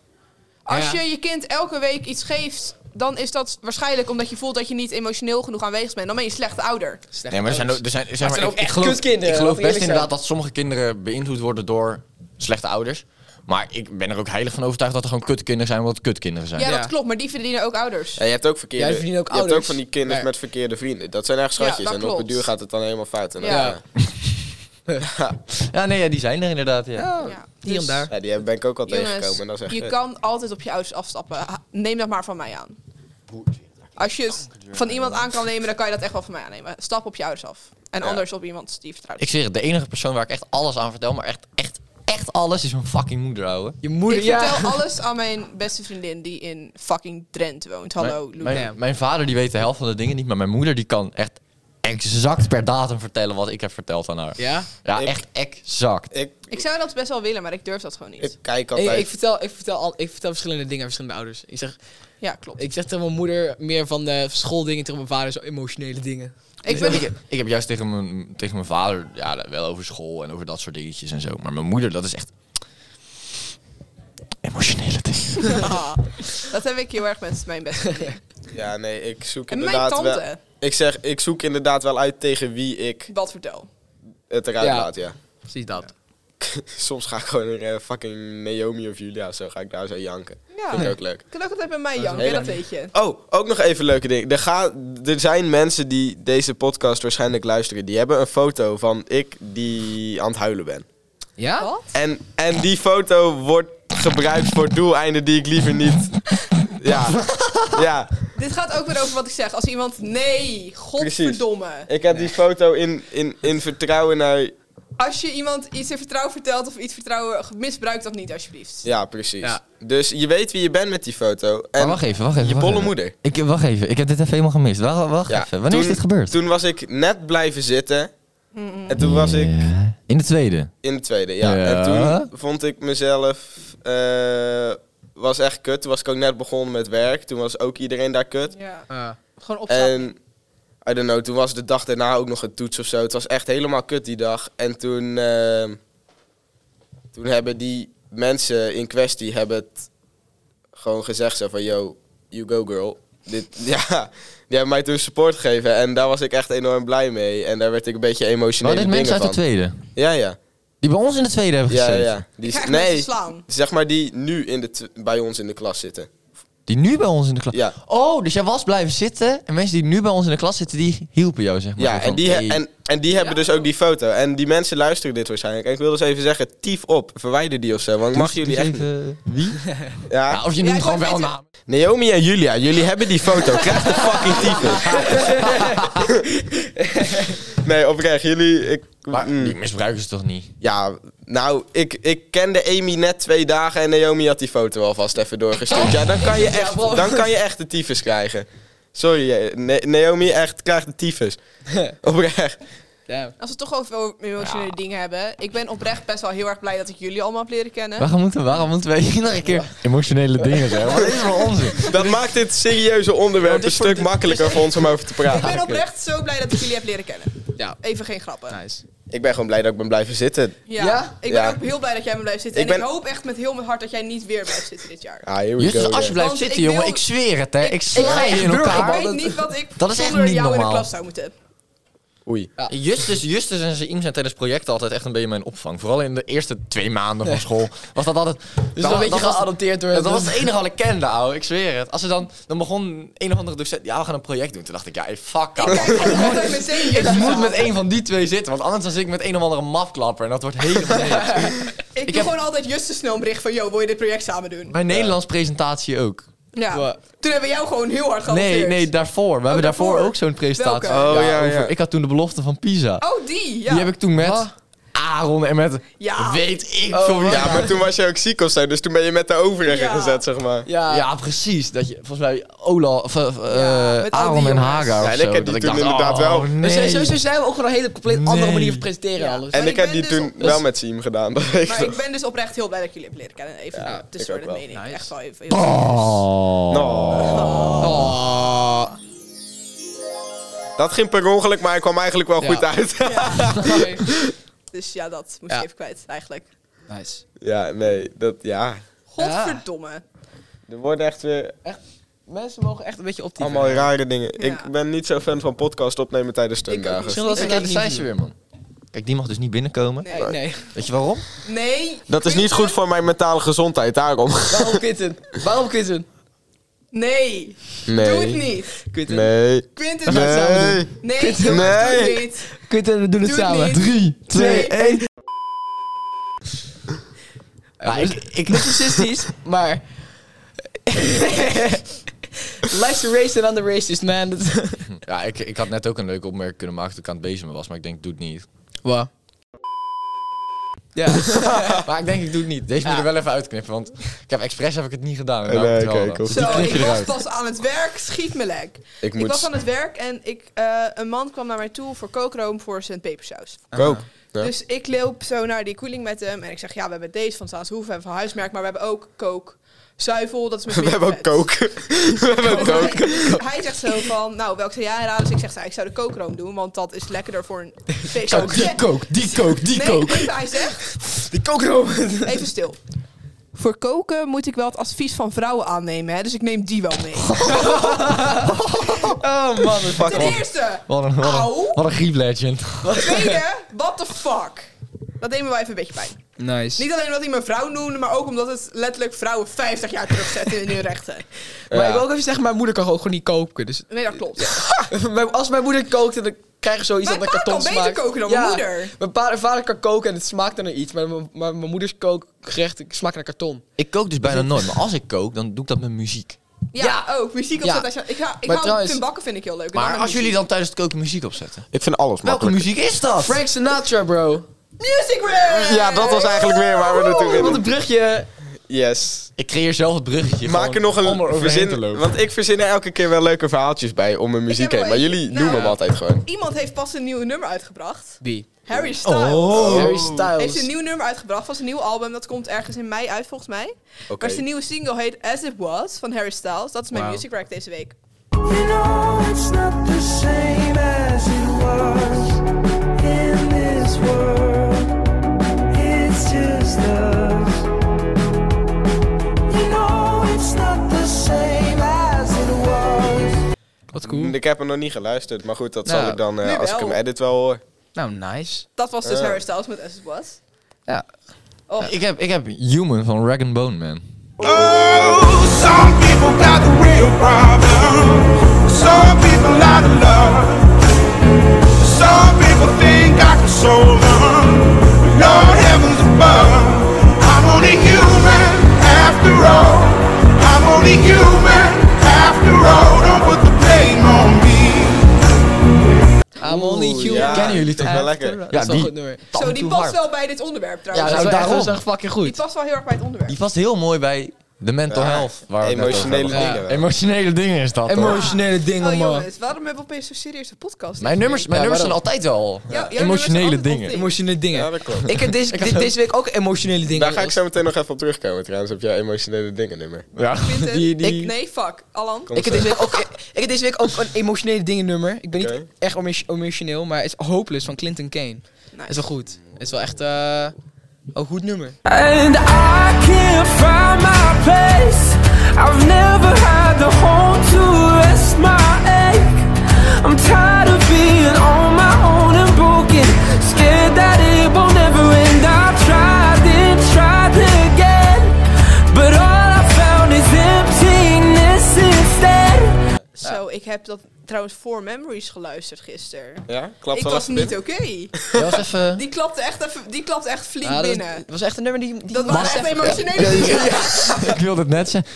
[SPEAKER 3] Als
[SPEAKER 1] Ja.
[SPEAKER 3] je je kind elke week iets geeft, dan is dat waarschijnlijk omdat je voelt dat je niet emotioneel genoeg aanwezig bent. Dan ben je een slechte ouder.
[SPEAKER 1] slecht
[SPEAKER 4] Nee, maar er zijn,
[SPEAKER 1] ouders.
[SPEAKER 4] ook- er zijn, zeg maar,
[SPEAKER 1] zijn
[SPEAKER 4] ik-
[SPEAKER 1] ook
[SPEAKER 4] ik
[SPEAKER 1] echt
[SPEAKER 4] geloof,
[SPEAKER 1] kutkinderen,
[SPEAKER 4] Ik geloof
[SPEAKER 1] laten we
[SPEAKER 4] best
[SPEAKER 1] eerlijk
[SPEAKER 4] inderdaad dat sommige kinderen beïnvloed worden door slechte ouders. Maar ik ben er ook heilig van overtuigd dat er gewoon kutkinderen zijn wat kutkinderen zijn.
[SPEAKER 3] Ja,
[SPEAKER 1] Ja.
[SPEAKER 3] dat klopt, maar die verdienen ook ouders.
[SPEAKER 2] Ja, je hebt ook verkeerde.
[SPEAKER 1] Ja, die verdienen ook
[SPEAKER 2] je hebt ook
[SPEAKER 1] ouders.
[SPEAKER 2] van die kinderen
[SPEAKER 1] Maar-
[SPEAKER 2] met verkeerde vrienden. Dat zijn echt schatjes.
[SPEAKER 3] dat
[SPEAKER 2] en op het
[SPEAKER 3] klopt.
[SPEAKER 2] duur gaat het dan helemaal fout. En dan-
[SPEAKER 3] Ja.
[SPEAKER 2] ja.
[SPEAKER 4] Ja, nee, ja, die zijn er inderdaad. Ja.
[SPEAKER 3] Ja, Dus
[SPEAKER 1] Hier en daar.
[SPEAKER 2] Ja, die heb- ben ik ook al
[SPEAKER 3] Jongens,
[SPEAKER 2] tegengekomen. En dat is echt,
[SPEAKER 3] je
[SPEAKER 2] eh,
[SPEAKER 3] kan altijd op je ouders afstappen. Ha- Neem dat maar van mij aan. Als je het van iemand aan kan nemen, dan kan je dat echt wel van mij aannemen. Stap op je ouders af. En anders op iemand die je vertrouwt.
[SPEAKER 4] Ik zeg het, de enige persoon waar ik echt alles aan vertel, maar echt, echt, echt alles, is mijn fucking moeder, ouwe.
[SPEAKER 1] Je moeder,
[SPEAKER 3] Ik
[SPEAKER 1] ja.
[SPEAKER 3] vertel alles aan mijn beste vriendin die in fucking Drenthe woont. Hallo,
[SPEAKER 4] mijn,
[SPEAKER 3] Lou.
[SPEAKER 1] Ja.
[SPEAKER 4] mijn, mijn vader die weet de helft van de dingen niet, maar mijn moeder die kan echt exact per datum vertellen wat ik heb verteld aan haar. Ja,
[SPEAKER 1] Ja?
[SPEAKER 2] Ik-
[SPEAKER 4] echt exact.
[SPEAKER 2] ik,
[SPEAKER 3] Ik zou dat best wel willen, maar ik durf dat gewoon niet.
[SPEAKER 2] ik kijk
[SPEAKER 1] Ik,
[SPEAKER 2] altijd.
[SPEAKER 1] ik, vertel, ik, vertel al, ik vertel verschillende dingen aan verschillende ouders. Ik zeg,
[SPEAKER 3] ja, klopt.
[SPEAKER 1] ik zeg tegen mijn moeder meer van de schooldingen, tegen mijn vader zo emotionele dingen.
[SPEAKER 3] Ik
[SPEAKER 4] Ik,
[SPEAKER 3] ben,
[SPEAKER 4] heb- ik heb juist tegen mijn, tegen mijn vader ja, wel over school en over dat soort dingetjes en zo. Maar mijn moeder, dat is echt... Emotionele
[SPEAKER 2] (laughs)
[SPEAKER 4] dingen.
[SPEAKER 3] Ah, (laughs) dat heb ik heel erg met mijn beste vriendin.
[SPEAKER 2] ja, nee, ik zoek
[SPEAKER 3] En mijn
[SPEAKER 2] inderdaad
[SPEAKER 3] tante,
[SPEAKER 2] wel. Ik zeg, ik zoek inderdaad wel uit tegen wie ik
[SPEAKER 3] wat vertel.
[SPEAKER 2] het eruit
[SPEAKER 1] Ja.
[SPEAKER 2] laat. Ja.
[SPEAKER 1] Precies dat.
[SPEAKER 2] Soms ga ik gewoon naar eh, fucking Naomi of Julia. Zo ga ik daar zo janken.
[SPEAKER 3] Ja,
[SPEAKER 4] Oh.
[SPEAKER 2] Vind ik ook leuk.
[SPEAKER 3] ik kan ook altijd bij mij janken,
[SPEAKER 2] hele-
[SPEAKER 3] dat weet je.
[SPEAKER 2] Oh, ook nog even leuke ding. Er, ga, er zijn mensen die deze podcast waarschijnlijk luisteren. Die hebben een foto van ik die aan het huilen ben.
[SPEAKER 1] Ja?
[SPEAKER 3] Wat?
[SPEAKER 2] En, en die foto wordt gebruikt voor doeleinden die ik liever niet. (laughs) Ja. Ja.
[SPEAKER 3] Dit gaat ook weer over wat ik zeg. Als iemand, nee, godverdomme.
[SPEAKER 2] Ik heb die foto in, in, in vertrouwen naar.
[SPEAKER 3] Als je iemand iets in vertrouwen vertelt of iets vertrouwen, misbruik dat niet alsjeblieft.
[SPEAKER 2] Ja, precies.
[SPEAKER 1] Ja.
[SPEAKER 2] Dus je weet wie je bent met die foto. En
[SPEAKER 4] Maar wacht even, wacht even.
[SPEAKER 2] je
[SPEAKER 4] wacht
[SPEAKER 2] bolle
[SPEAKER 4] even.
[SPEAKER 2] moeder.
[SPEAKER 4] Ik, wacht even, ik heb dit even helemaal gemist. Wacht, wacht
[SPEAKER 2] Ja,
[SPEAKER 4] even, wanneer is
[SPEAKER 2] toen-
[SPEAKER 4] dit gebeurd?
[SPEAKER 2] Toen was ik net blijven zitten. En toen was ik
[SPEAKER 4] Ja. In de tweede.
[SPEAKER 2] in de tweede, ja.
[SPEAKER 4] Ja.
[SPEAKER 2] En toen vond ik mezelf. eh, was echt kut. Toen was ik ook net begonnen met werk. Toen was ook iedereen daar kut.
[SPEAKER 3] Ja.
[SPEAKER 1] Ah.
[SPEAKER 3] Gewoon opstaan.
[SPEAKER 2] En I don't know, toen was de dag daarna ook nog een toets of zo. Het was echt helemaal kut die dag. En toen, ehm, toen hebben die mensen in kwestie hebben het gewoon gezegd zo van yo, you go girl. Dit, (laughs) ja, die hebben mij toen support gegeven en daar was ik echt enorm blij mee. En daar werd ik een beetje
[SPEAKER 4] Wel,
[SPEAKER 2] emotioneel
[SPEAKER 4] Oh, dit
[SPEAKER 2] dingen
[SPEAKER 4] mensen uit de Oh,
[SPEAKER 2] van.
[SPEAKER 4] tweede.
[SPEAKER 2] Ja, ja.
[SPEAKER 4] Die bij ons in de tweede hebben
[SPEAKER 2] ja,
[SPEAKER 4] gezeten.
[SPEAKER 2] ja. Die,
[SPEAKER 3] Krijg nee.
[SPEAKER 2] nee,
[SPEAKER 3] mensen slaan.
[SPEAKER 2] zeg maar die nu in de tw- bij ons in de klas zitten.
[SPEAKER 4] Die nu bij ons in de klas...
[SPEAKER 2] Ja.
[SPEAKER 4] Oh, dus jij was blijven zitten. En mensen die nu bij ons in de klas zitten, die hielpen jou, zeg maar.
[SPEAKER 2] Ja,
[SPEAKER 4] Zo van,
[SPEAKER 2] en die, he-
[SPEAKER 4] hey.
[SPEAKER 2] en, en die hebben dus ook die foto. En die mensen luisteren dit waarschijnlijk. En ik wil dus even zeggen, tief op, verwijder die of zo. Want ik mag
[SPEAKER 4] Doe
[SPEAKER 2] jullie
[SPEAKER 4] eens
[SPEAKER 2] echt... niet.
[SPEAKER 4] even- Nou. Wie?
[SPEAKER 2] Ja.
[SPEAKER 4] Ja, of je
[SPEAKER 3] Ja,
[SPEAKER 4] noemt
[SPEAKER 3] ik
[SPEAKER 4] gewoon
[SPEAKER 3] wou
[SPEAKER 4] wel
[SPEAKER 3] weten-
[SPEAKER 4] naam.
[SPEAKER 2] Naomi en Julia, jullie hebben die
[SPEAKER 4] (laughs)
[SPEAKER 2] foto. Krijg de fucking tyfus. nee, oprecht, jullie... Ik,
[SPEAKER 4] Maar
[SPEAKER 2] mm.
[SPEAKER 4] die misbruiken ze toch niet?
[SPEAKER 2] Ja, nou, ik, ik kende Amy net twee dagen en Naomi had die foto alvast even doorgestuurd. Ja, dan
[SPEAKER 4] (laughs)
[SPEAKER 2] kan je echt, dan kan je echt de tyfus krijgen. Sorry, eh, Na- Naomi echt krijgt de
[SPEAKER 4] (laughs)
[SPEAKER 2] tyfus. Oprecht.
[SPEAKER 1] Ja.
[SPEAKER 3] Als we het toch over o- emotionele dingen hebben. Ik ben oprecht best wel heel erg blij dat ik jullie allemaal heb leren kennen.
[SPEAKER 4] Waarom moeten, waarom moeten wij iedere keer emotionele dingen zeggen? Wat is wel onzin?
[SPEAKER 2] Dat maakt dit serieuze onderwerp een stuk makkelijker voor ons om over te
[SPEAKER 3] Ik ben
[SPEAKER 2] praten.
[SPEAKER 3] oprecht zo blij dat ik jullie heb leren kennen.
[SPEAKER 1] Ja.
[SPEAKER 3] Even geen grappen.
[SPEAKER 1] Nice.
[SPEAKER 2] Ik ben gewoon blij dat ik ben blijven zitten.
[SPEAKER 3] Ja.
[SPEAKER 1] Ja?
[SPEAKER 3] Ik ben
[SPEAKER 2] Ja.
[SPEAKER 3] ook heel blij dat jij me blijft zitten.
[SPEAKER 2] Ik
[SPEAKER 3] en
[SPEAKER 2] ben-
[SPEAKER 3] ik hoop echt met heel mijn hart dat jij niet weer blijft zitten dit jaar.
[SPEAKER 2] Ah, here we
[SPEAKER 4] Justus,
[SPEAKER 2] go.
[SPEAKER 4] als je blijft
[SPEAKER 3] Want
[SPEAKER 4] zitten,
[SPEAKER 3] ik wil-
[SPEAKER 4] jongen, ik zweer het, hè. Ik sla
[SPEAKER 1] ik
[SPEAKER 4] je
[SPEAKER 1] ga
[SPEAKER 4] in
[SPEAKER 1] echt
[SPEAKER 4] elkaar.
[SPEAKER 1] burgerbal.
[SPEAKER 3] Ik weet niet wat ik
[SPEAKER 4] dat is echt
[SPEAKER 3] zonder
[SPEAKER 4] niet
[SPEAKER 3] jou in de
[SPEAKER 4] normaal.
[SPEAKER 3] klas zou moeten hebben.
[SPEAKER 2] Oei.
[SPEAKER 4] Justus, Justus en zijn team zijn tijdens projecten altijd echt een beetje mijn opvang. Vooral in de eerste twee maanden van school was dat altijd...
[SPEAKER 1] Dus
[SPEAKER 4] dat-
[SPEAKER 1] een beetje
[SPEAKER 4] dat was-
[SPEAKER 1] geadopteerd door
[SPEAKER 4] Dat was het enige wat ik kende, ouwe. Ik zweer het. Als ze dan, dan begon een of andere docent... Ja, we gaan een project doen. Toen dacht ik, ja, hey, fuck,
[SPEAKER 3] Ik
[SPEAKER 4] ouwe.
[SPEAKER 3] kijk altijd meteen
[SPEAKER 4] Ik
[SPEAKER 3] Justus
[SPEAKER 4] moet
[SPEAKER 3] aan.
[SPEAKER 4] met een van die twee zitten, want anders dan zit ik met een of andere mafklapper. En dat wordt helemaal niks.
[SPEAKER 3] Ik, doe
[SPEAKER 4] heb-
[SPEAKER 3] gewoon altijd Justus snel een bericht van... Yo, wil je dit project samen doen?
[SPEAKER 4] Mijn Nederlands presentatie ook.
[SPEAKER 3] Ja.
[SPEAKER 1] Wa-
[SPEAKER 3] Toen hebben we jou gewoon heel hard gehanteerd.
[SPEAKER 4] Nee, nee, daarvoor. We hebben daarvoor,
[SPEAKER 3] Oh, daarvoor.
[SPEAKER 4] ook zo'n presentatie.
[SPEAKER 3] Welke?
[SPEAKER 2] Oh, ja, ja.
[SPEAKER 4] Ik had toen de belofte van Pisa.
[SPEAKER 3] Oh, die. Ja.
[SPEAKER 4] Die heb ik toen met Aaron en met...
[SPEAKER 3] Ja.
[SPEAKER 4] Weet ik
[SPEAKER 1] Oh,
[SPEAKER 4] veel wie.
[SPEAKER 2] Ja, maar toen was je ook ziek of zo, dus toen ben je met de overige
[SPEAKER 3] Ja. Dus
[SPEAKER 2] gezet, zeg maar.
[SPEAKER 1] Ja,
[SPEAKER 4] Ja, precies. Dat je, volgens mij, Ola, of, eh,
[SPEAKER 3] Ja, met al die
[SPEAKER 4] Aaron en
[SPEAKER 3] jongens.
[SPEAKER 4] Haga
[SPEAKER 2] Ja,
[SPEAKER 4] of
[SPEAKER 2] en
[SPEAKER 4] zo.
[SPEAKER 2] ik heb die
[SPEAKER 4] dat ik
[SPEAKER 2] toen
[SPEAKER 4] dacht,
[SPEAKER 2] inderdaad
[SPEAKER 4] oh,
[SPEAKER 2] wel.
[SPEAKER 1] Dus
[SPEAKER 4] Nee.
[SPEAKER 1] sowieso zijn we ook gewoon een hele compleet andere
[SPEAKER 4] Nee.
[SPEAKER 1] manier van presenteren
[SPEAKER 3] Ja.
[SPEAKER 1] en alles.
[SPEAKER 2] En
[SPEAKER 3] Maar
[SPEAKER 2] ik
[SPEAKER 3] ik
[SPEAKER 2] heb
[SPEAKER 3] ben
[SPEAKER 2] die
[SPEAKER 3] dus
[SPEAKER 2] toen
[SPEAKER 3] op-
[SPEAKER 2] wel met Siem gedaan, (laughs) dat weet ik
[SPEAKER 3] Maar ik
[SPEAKER 2] nog.
[SPEAKER 3] ben dus oprecht heel blij dat ik jullie heb leren kennen. Even
[SPEAKER 1] Ja,
[SPEAKER 3] tussen tussendoor,
[SPEAKER 2] ik
[SPEAKER 3] dat
[SPEAKER 2] ook wel.
[SPEAKER 3] meen ik.
[SPEAKER 1] Nice.
[SPEAKER 3] Echt wel even.
[SPEAKER 4] Oh.
[SPEAKER 2] Nou,
[SPEAKER 1] Oh.
[SPEAKER 2] Dat ging per ongeluk, maar ik kwam eigenlijk wel
[SPEAKER 1] Ja.
[SPEAKER 2] goed uit.
[SPEAKER 3] Dus ja, dat moest
[SPEAKER 1] Ja.
[SPEAKER 3] ik even kwijt eigenlijk.
[SPEAKER 1] Nice.
[SPEAKER 2] (laughs) Ja, nee, dat, ja.
[SPEAKER 3] Godverdomme.
[SPEAKER 2] Er worden echt weer
[SPEAKER 1] Mensen mogen echt een beetje optieven.
[SPEAKER 2] allemaal rare dingen.
[SPEAKER 3] Ja.
[SPEAKER 2] Ik ben niet zo fan van podcast opnemen tijdens stundagen.
[SPEAKER 1] Misschien dat ze
[SPEAKER 4] Kijk,
[SPEAKER 1] dat
[SPEAKER 4] daar
[SPEAKER 1] niet doen.
[SPEAKER 4] zijn ze weer, man. Kijk, die mag dus niet binnenkomen.
[SPEAKER 3] Nee.
[SPEAKER 1] Nee, nee.
[SPEAKER 4] Weet je waarom?
[SPEAKER 3] Nee.
[SPEAKER 2] Dat is niet goed voor mijn mentale gezondheid, daarom. (laughs)
[SPEAKER 1] Waarom quitten? Waarom quitten?
[SPEAKER 3] Nee. Doe het niet.
[SPEAKER 1] Quitten.
[SPEAKER 2] Nee.
[SPEAKER 3] Quinten, doe het samen.
[SPEAKER 2] Nee.
[SPEAKER 3] Nee.
[SPEAKER 1] Quinten,
[SPEAKER 3] jongens, doe
[SPEAKER 2] nee.
[SPEAKER 3] het niet.
[SPEAKER 1] Quinten, we doen het
[SPEAKER 3] Doe het
[SPEAKER 1] samen.
[SPEAKER 3] niet.
[SPEAKER 1] 3, 2,
[SPEAKER 3] Twee,
[SPEAKER 1] 1.
[SPEAKER 4] Ja, ik,
[SPEAKER 1] Niet
[SPEAKER 4] ik,
[SPEAKER 1] racistisch, maar... (laughs) Life's a race and I'm the racist, man. Dat-
[SPEAKER 4] ja ik, ik had net ook een leuke opmerking kunnen maken toen ik aan het bezemen was. Maar ik denk, doe het
[SPEAKER 3] (laughs)
[SPEAKER 4] niet.
[SPEAKER 1] Wow. Ja.
[SPEAKER 4] maar ik denk, ik doe het niet. Deze moet je er wel even uitknippen. Want ik heb expres heb ik het niet gedaan. en
[SPEAKER 2] Nee,
[SPEAKER 4] nou heb ik het wel
[SPEAKER 2] oké,
[SPEAKER 4] gedaan.
[SPEAKER 2] cool.
[SPEAKER 3] Zo,
[SPEAKER 4] Die knip
[SPEAKER 3] ik
[SPEAKER 4] je
[SPEAKER 3] was
[SPEAKER 4] eruit.
[SPEAKER 3] pas aan het werk. Schiet me lek.
[SPEAKER 2] Ik
[SPEAKER 3] Ik was
[SPEAKER 2] moet...
[SPEAKER 3] aan het werk en ik, eh, een man kwam naar mij toe voor kookroom voor zijn pepersaus.
[SPEAKER 2] Kook. Ja.
[SPEAKER 3] Dus ik loop zo naar die koeling met hem en ik zeg, ja, we hebben deze van Staans Hoeven en van Huismerk, maar we hebben ook kook. Zuivel, dat is met
[SPEAKER 2] (laughs) We hebben ook
[SPEAKER 3] pepervet.
[SPEAKER 2] kook. We hebben ook kook.
[SPEAKER 3] Dus (laughs) Hij zegt zo van, nou, welke zou jij raden? Dus ik zeg, nou, ik zou de kookroom doen, want dat is lekkerder voor
[SPEAKER 2] (laughs)
[SPEAKER 3] een pepersaus.
[SPEAKER 4] Die kook, die kook, die
[SPEAKER 3] nee,
[SPEAKER 4] kook.
[SPEAKER 3] even, hij zegt,
[SPEAKER 1] Die kookroom.
[SPEAKER 3] even stil. Voor koken moet ik wel het advies van vrouwen aannemen, hè? dus ik neem die wel mee.
[SPEAKER 1] Oh man, dat
[SPEAKER 3] Ten eerste,
[SPEAKER 4] Wat een, wat
[SPEAKER 3] Au.
[SPEAKER 4] een, wat een griep legend.
[SPEAKER 3] tweede, what the fuck? Dat deed me wel even een beetje pijn.
[SPEAKER 1] Nice.
[SPEAKER 3] Niet alleen omdat hij me vrouw noemde, maar ook omdat het letterlijk vrouwen 50 jaar terugzet in hun rechten.
[SPEAKER 1] Maar
[SPEAKER 2] Ja.
[SPEAKER 1] ik wil ook even zeggen, mijn moeder kan gewoon gewoon niet koken. Dus
[SPEAKER 3] Nee, dat klopt.
[SPEAKER 1] (laughs) Mijn- als mijn moeder kookt, dan krijg je zoiets
[SPEAKER 3] Mijn
[SPEAKER 1] dat een
[SPEAKER 3] pa
[SPEAKER 1] karton
[SPEAKER 3] kan beter
[SPEAKER 1] smaakt.
[SPEAKER 3] koken dan mijn moeder.
[SPEAKER 1] Mijn pa- vader kan koken en het smaakt naar iets. Maar mijn, maar mijn moeders kookgerecht smaakt naar karton.
[SPEAKER 4] Ik kook dus bijna nooit. Maar als ik kook, dan doe ik dat met muziek.
[SPEAKER 3] Ja, ook. Muziek
[SPEAKER 1] Ja.
[SPEAKER 3] opzet. als je- Ik, ga, ik
[SPEAKER 1] Maar
[SPEAKER 3] hou
[SPEAKER 1] trouwens-
[SPEAKER 3] Tim Bakken vind ik heel leuk. en dan
[SPEAKER 4] Maar
[SPEAKER 3] met
[SPEAKER 4] als jullie
[SPEAKER 3] muziek.
[SPEAKER 4] dan tijdens het koken muziek opzetten.
[SPEAKER 2] Ik vind alles
[SPEAKER 4] Welke
[SPEAKER 2] makkelijk.
[SPEAKER 4] muziek is dat?
[SPEAKER 1] Frank Sinatra, bro.
[SPEAKER 3] Music Room!
[SPEAKER 2] Ja, dat was eigenlijk weer waar we naartoe
[SPEAKER 1] Wat een
[SPEAKER 2] gingen.
[SPEAKER 1] brugje.
[SPEAKER 2] Yes.
[SPEAKER 4] Ik creëer zelf het bruggetje.
[SPEAKER 2] Maak er nog een verzin... Want ik verzin er elke keer wel leuke verhaaltjes bij om een muziek
[SPEAKER 3] heb wel
[SPEAKER 2] heen. Maar
[SPEAKER 3] een-
[SPEAKER 2] jullie
[SPEAKER 3] Nou.
[SPEAKER 2] doen hem altijd gewoon.
[SPEAKER 3] Iemand heeft pas een nieuw nummer uitgebracht.
[SPEAKER 1] Wie?
[SPEAKER 3] Harry Styles.
[SPEAKER 1] Harry Styles.
[SPEAKER 3] Heeft een nieuw nummer uitgebracht. Was een nieuw album. Dat komt ergens in mei uit, volgens mij.
[SPEAKER 2] Oké.
[SPEAKER 3] Maar zijn nieuwe single heet As It Was van Harry Styles. Dat is mijn
[SPEAKER 1] Wauw.
[SPEAKER 3] music rack deze week.
[SPEAKER 8] You know it's not the same as it was in this world. It's just us. You know it's not the same as it was
[SPEAKER 1] Wat cool.
[SPEAKER 2] Mm, Ik heb hem nog niet geluisterd, maar goed, dat
[SPEAKER 1] Nou,
[SPEAKER 2] zal ik dan eh,
[SPEAKER 3] nu
[SPEAKER 2] als ik
[SPEAKER 3] wel.
[SPEAKER 2] hem edit wel hoor.
[SPEAKER 1] Nou, nice.
[SPEAKER 3] Dat was dus
[SPEAKER 2] Eh.
[SPEAKER 3] Harry Styles met As It Was.
[SPEAKER 1] Ja.
[SPEAKER 3] Oh,
[SPEAKER 4] Ik heb, ik heb Human van Rag and Bone Man.
[SPEAKER 8] Oh, some people got the real problem. Some people out of love. Some people think I can soul them. Lord heavens above. I'm only human after all. I'm only human after all. Don't put the blame on me.
[SPEAKER 1] I'm only human.
[SPEAKER 2] ja.
[SPEAKER 4] Kennen jullie toch
[SPEAKER 1] Ja,
[SPEAKER 2] wel lekker?
[SPEAKER 1] Dat is wel
[SPEAKER 4] die-
[SPEAKER 1] goed nummer.
[SPEAKER 3] zo, die past wel bij dit onderwerp
[SPEAKER 1] Ja,
[SPEAKER 3] trouwens.
[SPEAKER 1] dat is
[SPEAKER 4] nou,
[SPEAKER 1] wel echt- dat is
[SPEAKER 4] daarom.
[SPEAKER 1] echt fucking
[SPEAKER 3] Die
[SPEAKER 1] goed.
[SPEAKER 3] past wel heel erg bij het onderwerp.
[SPEAKER 4] Die past heel mooi bij de mental
[SPEAKER 2] Ja,
[SPEAKER 4] health. Waar we het net over
[SPEAKER 2] Emotionele
[SPEAKER 4] hadden.
[SPEAKER 1] Ja.
[SPEAKER 2] dingen. wel.
[SPEAKER 4] Emotionele dingen is dat. hoor.
[SPEAKER 1] Emotionele dingen,
[SPEAKER 3] oh
[SPEAKER 1] man.
[SPEAKER 3] jongens, waarom hebben we opeens zo'n serieuze podcast?
[SPEAKER 4] Mijn nummers, mijn
[SPEAKER 1] Ja,
[SPEAKER 4] nummers zijn
[SPEAKER 1] waarom?
[SPEAKER 4] altijd wel
[SPEAKER 3] Ja, jouw nummers zijn
[SPEAKER 4] emotionele
[SPEAKER 3] altijd wel
[SPEAKER 4] dingen.
[SPEAKER 3] flink.
[SPEAKER 1] Emotionele
[SPEAKER 2] Ja,
[SPEAKER 1] dingen.
[SPEAKER 2] dat klopt.
[SPEAKER 1] Ik heb deze, dit- deze week ook emotionele dingen.
[SPEAKER 2] Daar ga ik zo meteen nog even op terugkomen trouwens, op jouw emotionele dingen nummer.
[SPEAKER 4] Ja.
[SPEAKER 3] Vincent,
[SPEAKER 4] Die, die,
[SPEAKER 3] ik, nee, fuck. Alan.
[SPEAKER 2] Kom
[SPEAKER 1] Ik heb,
[SPEAKER 2] zo.
[SPEAKER 1] deze week ook, ik heb deze week ook een emotionele dingen nummer. Ik ben
[SPEAKER 2] Oké.
[SPEAKER 1] niet echt emo- emotioneel, maar het is Hopeless van Clinton Kane. Dat is wel goed. Het is wel echt eh een goed nummer.
[SPEAKER 8] And I can't find my place. I've never had the home to rest my ache. I'm tired of being on my own and broken. Scared that it will never end. I tried and tried again. But all I found is emptiness instead.
[SPEAKER 3] Zo, ik heb dat trouwens voor Memories geluisterd gisteren.
[SPEAKER 2] Ja, klapt
[SPEAKER 3] Ik
[SPEAKER 2] wel
[SPEAKER 3] was
[SPEAKER 2] even
[SPEAKER 3] niet
[SPEAKER 2] binnen.
[SPEAKER 3] oké.
[SPEAKER 4] dat was even...
[SPEAKER 3] Die klapte echt, even, die klapte echt flink
[SPEAKER 1] Ja, dat,
[SPEAKER 3] binnen. Dat,
[SPEAKER 1] dat was echt een nummer die... die
[SPEAKER 3] waren echt emotionele dingen.
[SPEAKER 4] (laughs) ik wilde het net zeggen.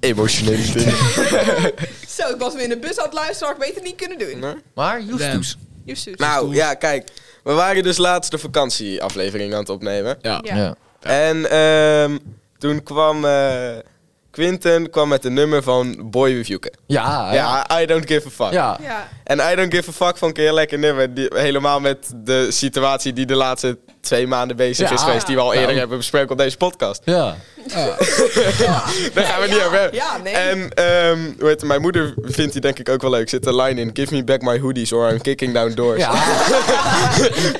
[SPEAKER 2] Emotionele dingen.
[SPEAKER 3] Zo, ik was weer in de bus aan het luisteren, had ik beter niet kunnen doen.
[SPEAKER 2] Nee.
[SPEAKER 4] Maar Justus.
[SPEAKER 1] Justus.
[SPEAKER 3] Justus.
[SPEAKER 2] Nou ja, kijk. We waren dus laatst de vakantieaflevering aan het opnemen.
[SPEAKER 3] Ja.
[SPEAKER 2] En ehm, toen kwam eh Quinten kwam met een nummer van Boy With You.
[SPEAKER 4] Ja, Ah, ja.
[SPEAKER 2] Ja, I Don't Give A Fuck.
[SPEAKER 4] ja.
[SPEAKER 3] Ja.
[SPEAKER 2] En I Don't Give A Fuck vond ik een heel lekker nummer. Die, helemaal met de situatie die de laatste twee maanden bezig
[SPEAKER 4] Ja.
[SPEAKER 2] is geweest. Die we al eerder
[SPEAKER 4] Nou.
[SPEAKER 2] hebben besproken op deze podcast.
[SPEAKER 4] Ja.
[SPEAKER 2] (laughs) Daar gaan we niet over hebben.
[SPEAKER 3] Ja, nee.
[SPEAKER 2] En ehm, hoe heet het, mijn moeder vindt die denk ik ook wel leuk. Zit een line in. Give me back my hoodies or I'm kicking down doors. (laughs) mijn,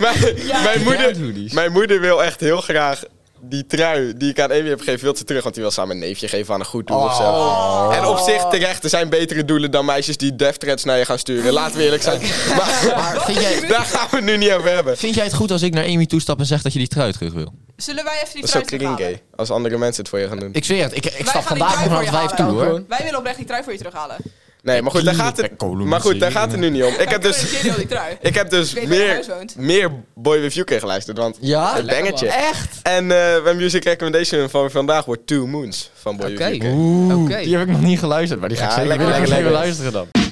[SPEAKER 2] mijn,
[SPEAKER 4] Damn
[SPEAKER 2] moeder,
[SPEAKER 4] hoodies.
[SPEAKER 2] mijn moeder wil echt heel graag die trui die ik aan Amy heb gegeven, wil ze terug. Want die wil ze aan mijn neefje geven aan een goed doel of zo.
[SPEAKER 3] Oh.
[SPEAKER 2] En op zich terecht, er zijn betere doelen dan meisjes die death threats naar je gaan sturen. Laten we eerlijk
[SPEAKER 3] (laughs)
[SPEAKER 2] zijn. Maar
[SPEAKER 4] Maar vind jij,
[SPEAKER 2] daar gaan we het nu niet over hebben.
[SPEAKER 4] vind jij het goed als ik naar Amy toestap en zeg dat je die trui terug wil?
[SPEAKER 3] Zullen wij even die
[SPEAKER 2] Dat is zo
[SPEAKER 3] trui terughalen?
[SPEAKER 2] kringe. Als andere mensen het voor je gaan doen.
[SPEAKER 4] Ik zweer het. Ik, ik
[SPEAKER 3] Wij
[SPEAKER 4] stap
[SPEAKER 3] gaan die
[SPEAKER 4] vandaag nog
[SPEAKER 3] trui
[SPEAKER 4] naar
[SPEAKER 3] voor
[SPEAKER 4] het
[SPEAKER 3] je
[SPEAKER 4] wijf toe
[SPEAKER 3] halen.
[SPEAKER 4] hoor.
[SPEAKER 3] Wij willen oprecht die trui voor je terughalen.
[SPEAKER 2] Nee, maar goed, daar gaat het, maar goed, daar gaat het nu niet om. Ik heb
[SPEAKER 3] (laughs)
[SPEAKER 2] dus,
[SPEAKER 3] Serieus, die trui.
[SPEAKER 2] ik heb dus
[SPEAKER 3] Ik weet waar je
[SPEAKER 2] meer,
[SPEAKER 3] thuis woont.
[SPEAKER 2] meer Boy With You geluisterd. Want
[SPEAKER 4] Ja?
[SPEAKER 2] een bangetje.
[SPEAKER 4] Echt?
[SPEAKER 2] En eh, mijn music recommendation van vandaag wordt Two Moons van Boy
[SPEAKER 1] Oké.
[SPEAKER 2] With You.
[SPEAKER 4] Oeh,
[SPEAKER 1] Oké.
[SPEAKER 4] die heb ik nog niet geluisterd, maar die ga ik
[SPEAKER 2] Ja,
[SPEAKER 4] zeker
[SPEAKER 2] lekker,
[SPEAKER 4] wil ik
[SPEAKER 2] lekker,
[SPEAKER 4] even
[SPEAKER 2] lekker.
[SPEAKER 4] luisteren dan.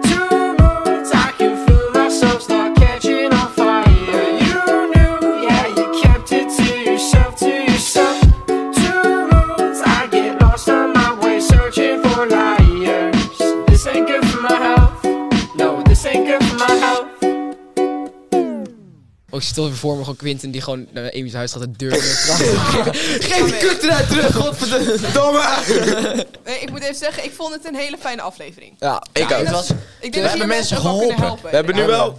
[SPEAKER 8] Two moons, I can feel myself start catching on fire. You knew, yeah, you kept it to yourself, to yourself. Two moons, I get lost on my way, searching for liars. This ain't good for my health. No, this ain't good for my health.
[SPEAKER 1] Oh, ik stel weer voor me gewoon Quinten die gewoon naar Amy's huis gaat de deur in de
[SPEAKER 2] (laughs)
[SPEAKER 1] trap. Geef die kut eruit terug, godverdomme.
[SPEAKER 3] Nee, Eh, ik moet even zeggen, ik vond het een hele fijne aflevering.
[SPEAKER 1] Ja,
[SPEAKER 2] Ik ook.
[SPEAKER 3] Dat is- Ik denk dat jullie
[SPEAKER 4] hebben mensen
[SPEAKER 3] mensen ook wel kunnen helpen.
[SPEAKER 4] geholpen.
[SPEAKER 2] We hebben nu wel.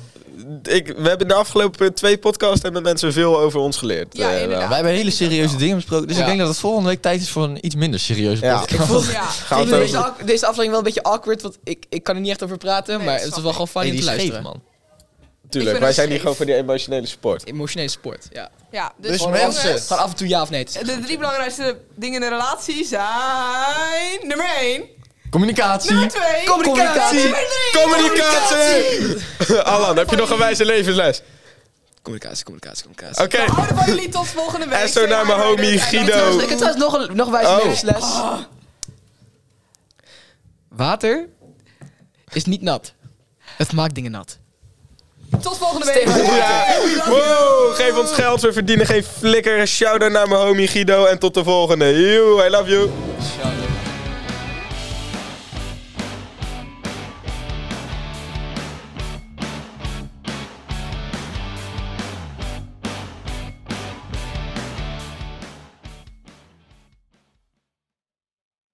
[SPEAKER 2] Ik, we hebben de afgelopen twee podcasts hebben mensen veel over ons geleerd.
[SPEAKER 3] Ja,
[SPEAKER 2] eh, wel.
[SPEAKER 3] inderdaad.
[SPEAKER 4] Wij hebben hele serieuze dingen besproken, dus ik
[SPEAKER 1] Ja.
[SPEAKER 4] denk dat het volgende week tijd is voor een iets minder serieuze
[SPEAKER 2] Ja.
[SPEAKER 4] podcast. (laughs)
[SPEAKER 3] Ja.
[SPEAKER 2] Gaan
[SPEAKER 1] ik vind
[SPEAKER 2] we het
[SPEAKER 1] deze,
[SPEAKER 2] over-
[SPEAKER 1] af- deze aflevering wel een beetje awkward, want ik, ik kan er niet echt over praten,
[SPEAKER 3] Nee,
[SPEAKER 1] maar het
[SPEAKER 3] dat
[SPEAKER 1] is
[SPEAKER 3] snap
[SPEAKER 1] wel gewoon fijn
[SPEAKER 4] Nee,
[SPEAKER 1] om
[SPEAKER 4] die
[SPEAKER 1] te
[SPEAKER 4] is scheef,
[SPEAKER 1] luisteren.
[SPEAKER 4] man.
[SPEAKER 3] Ik
[SPEAKER 2] Tuurlijk,
[SPEAKER 3] ben
[SPEAKER 2] wij
[SPEAKER 3] een
[SPEAKER 2] zijn hier
[SPEAKER 3] scheef.
[SPEAKER 2] gewoon voor die emotionele support.
[SPEAKER 1] Emotionele sport, ja.
[SPEAKER 3] Ja, dus,
[SPEAKER 4] Dus
[SPEAKER 3] jongens,
[SPEAKER 4] mensen.
[SPEAKER 1] Gewoon af en toe ja of nee. te zeggen.
[SPEAKER 3] de drie belangrijkste dingen in een relatie zijn... Nummer 1,
[SPEAKER 4] Communicatie.
[SPEAKER 3] nummer 2,
[SPEAKER 1] Communicatie.
[SPEAKER 3] nummer 3.
[SPEAKER 2] Communicatie! (laughs) Alan, heb je nog een wijze levensles?
[SPEAKER 1] Communicatie, communicatie, communicatie.
[SPEAKER 2] Oké.
[SPEAKER 3] Houden van jullie tot volgende week.
[SPEAKER 2] En zo naar mijn homie Guido.
[SPEAKER 1] Ik heb trouwens nog een nog een wijze
[SPEAKER 2] Oh.
[SPEAKER 1] levensles. Water is niet nat. Het maakt dingen nat.
[SPEAKER 3] Tot volgende week.
[SPEAKER 2] Wow, geef ons geld, we verdienen geen flikker. Shout-out naar mijn homie Guido en tot de volgende. Yo, I love you.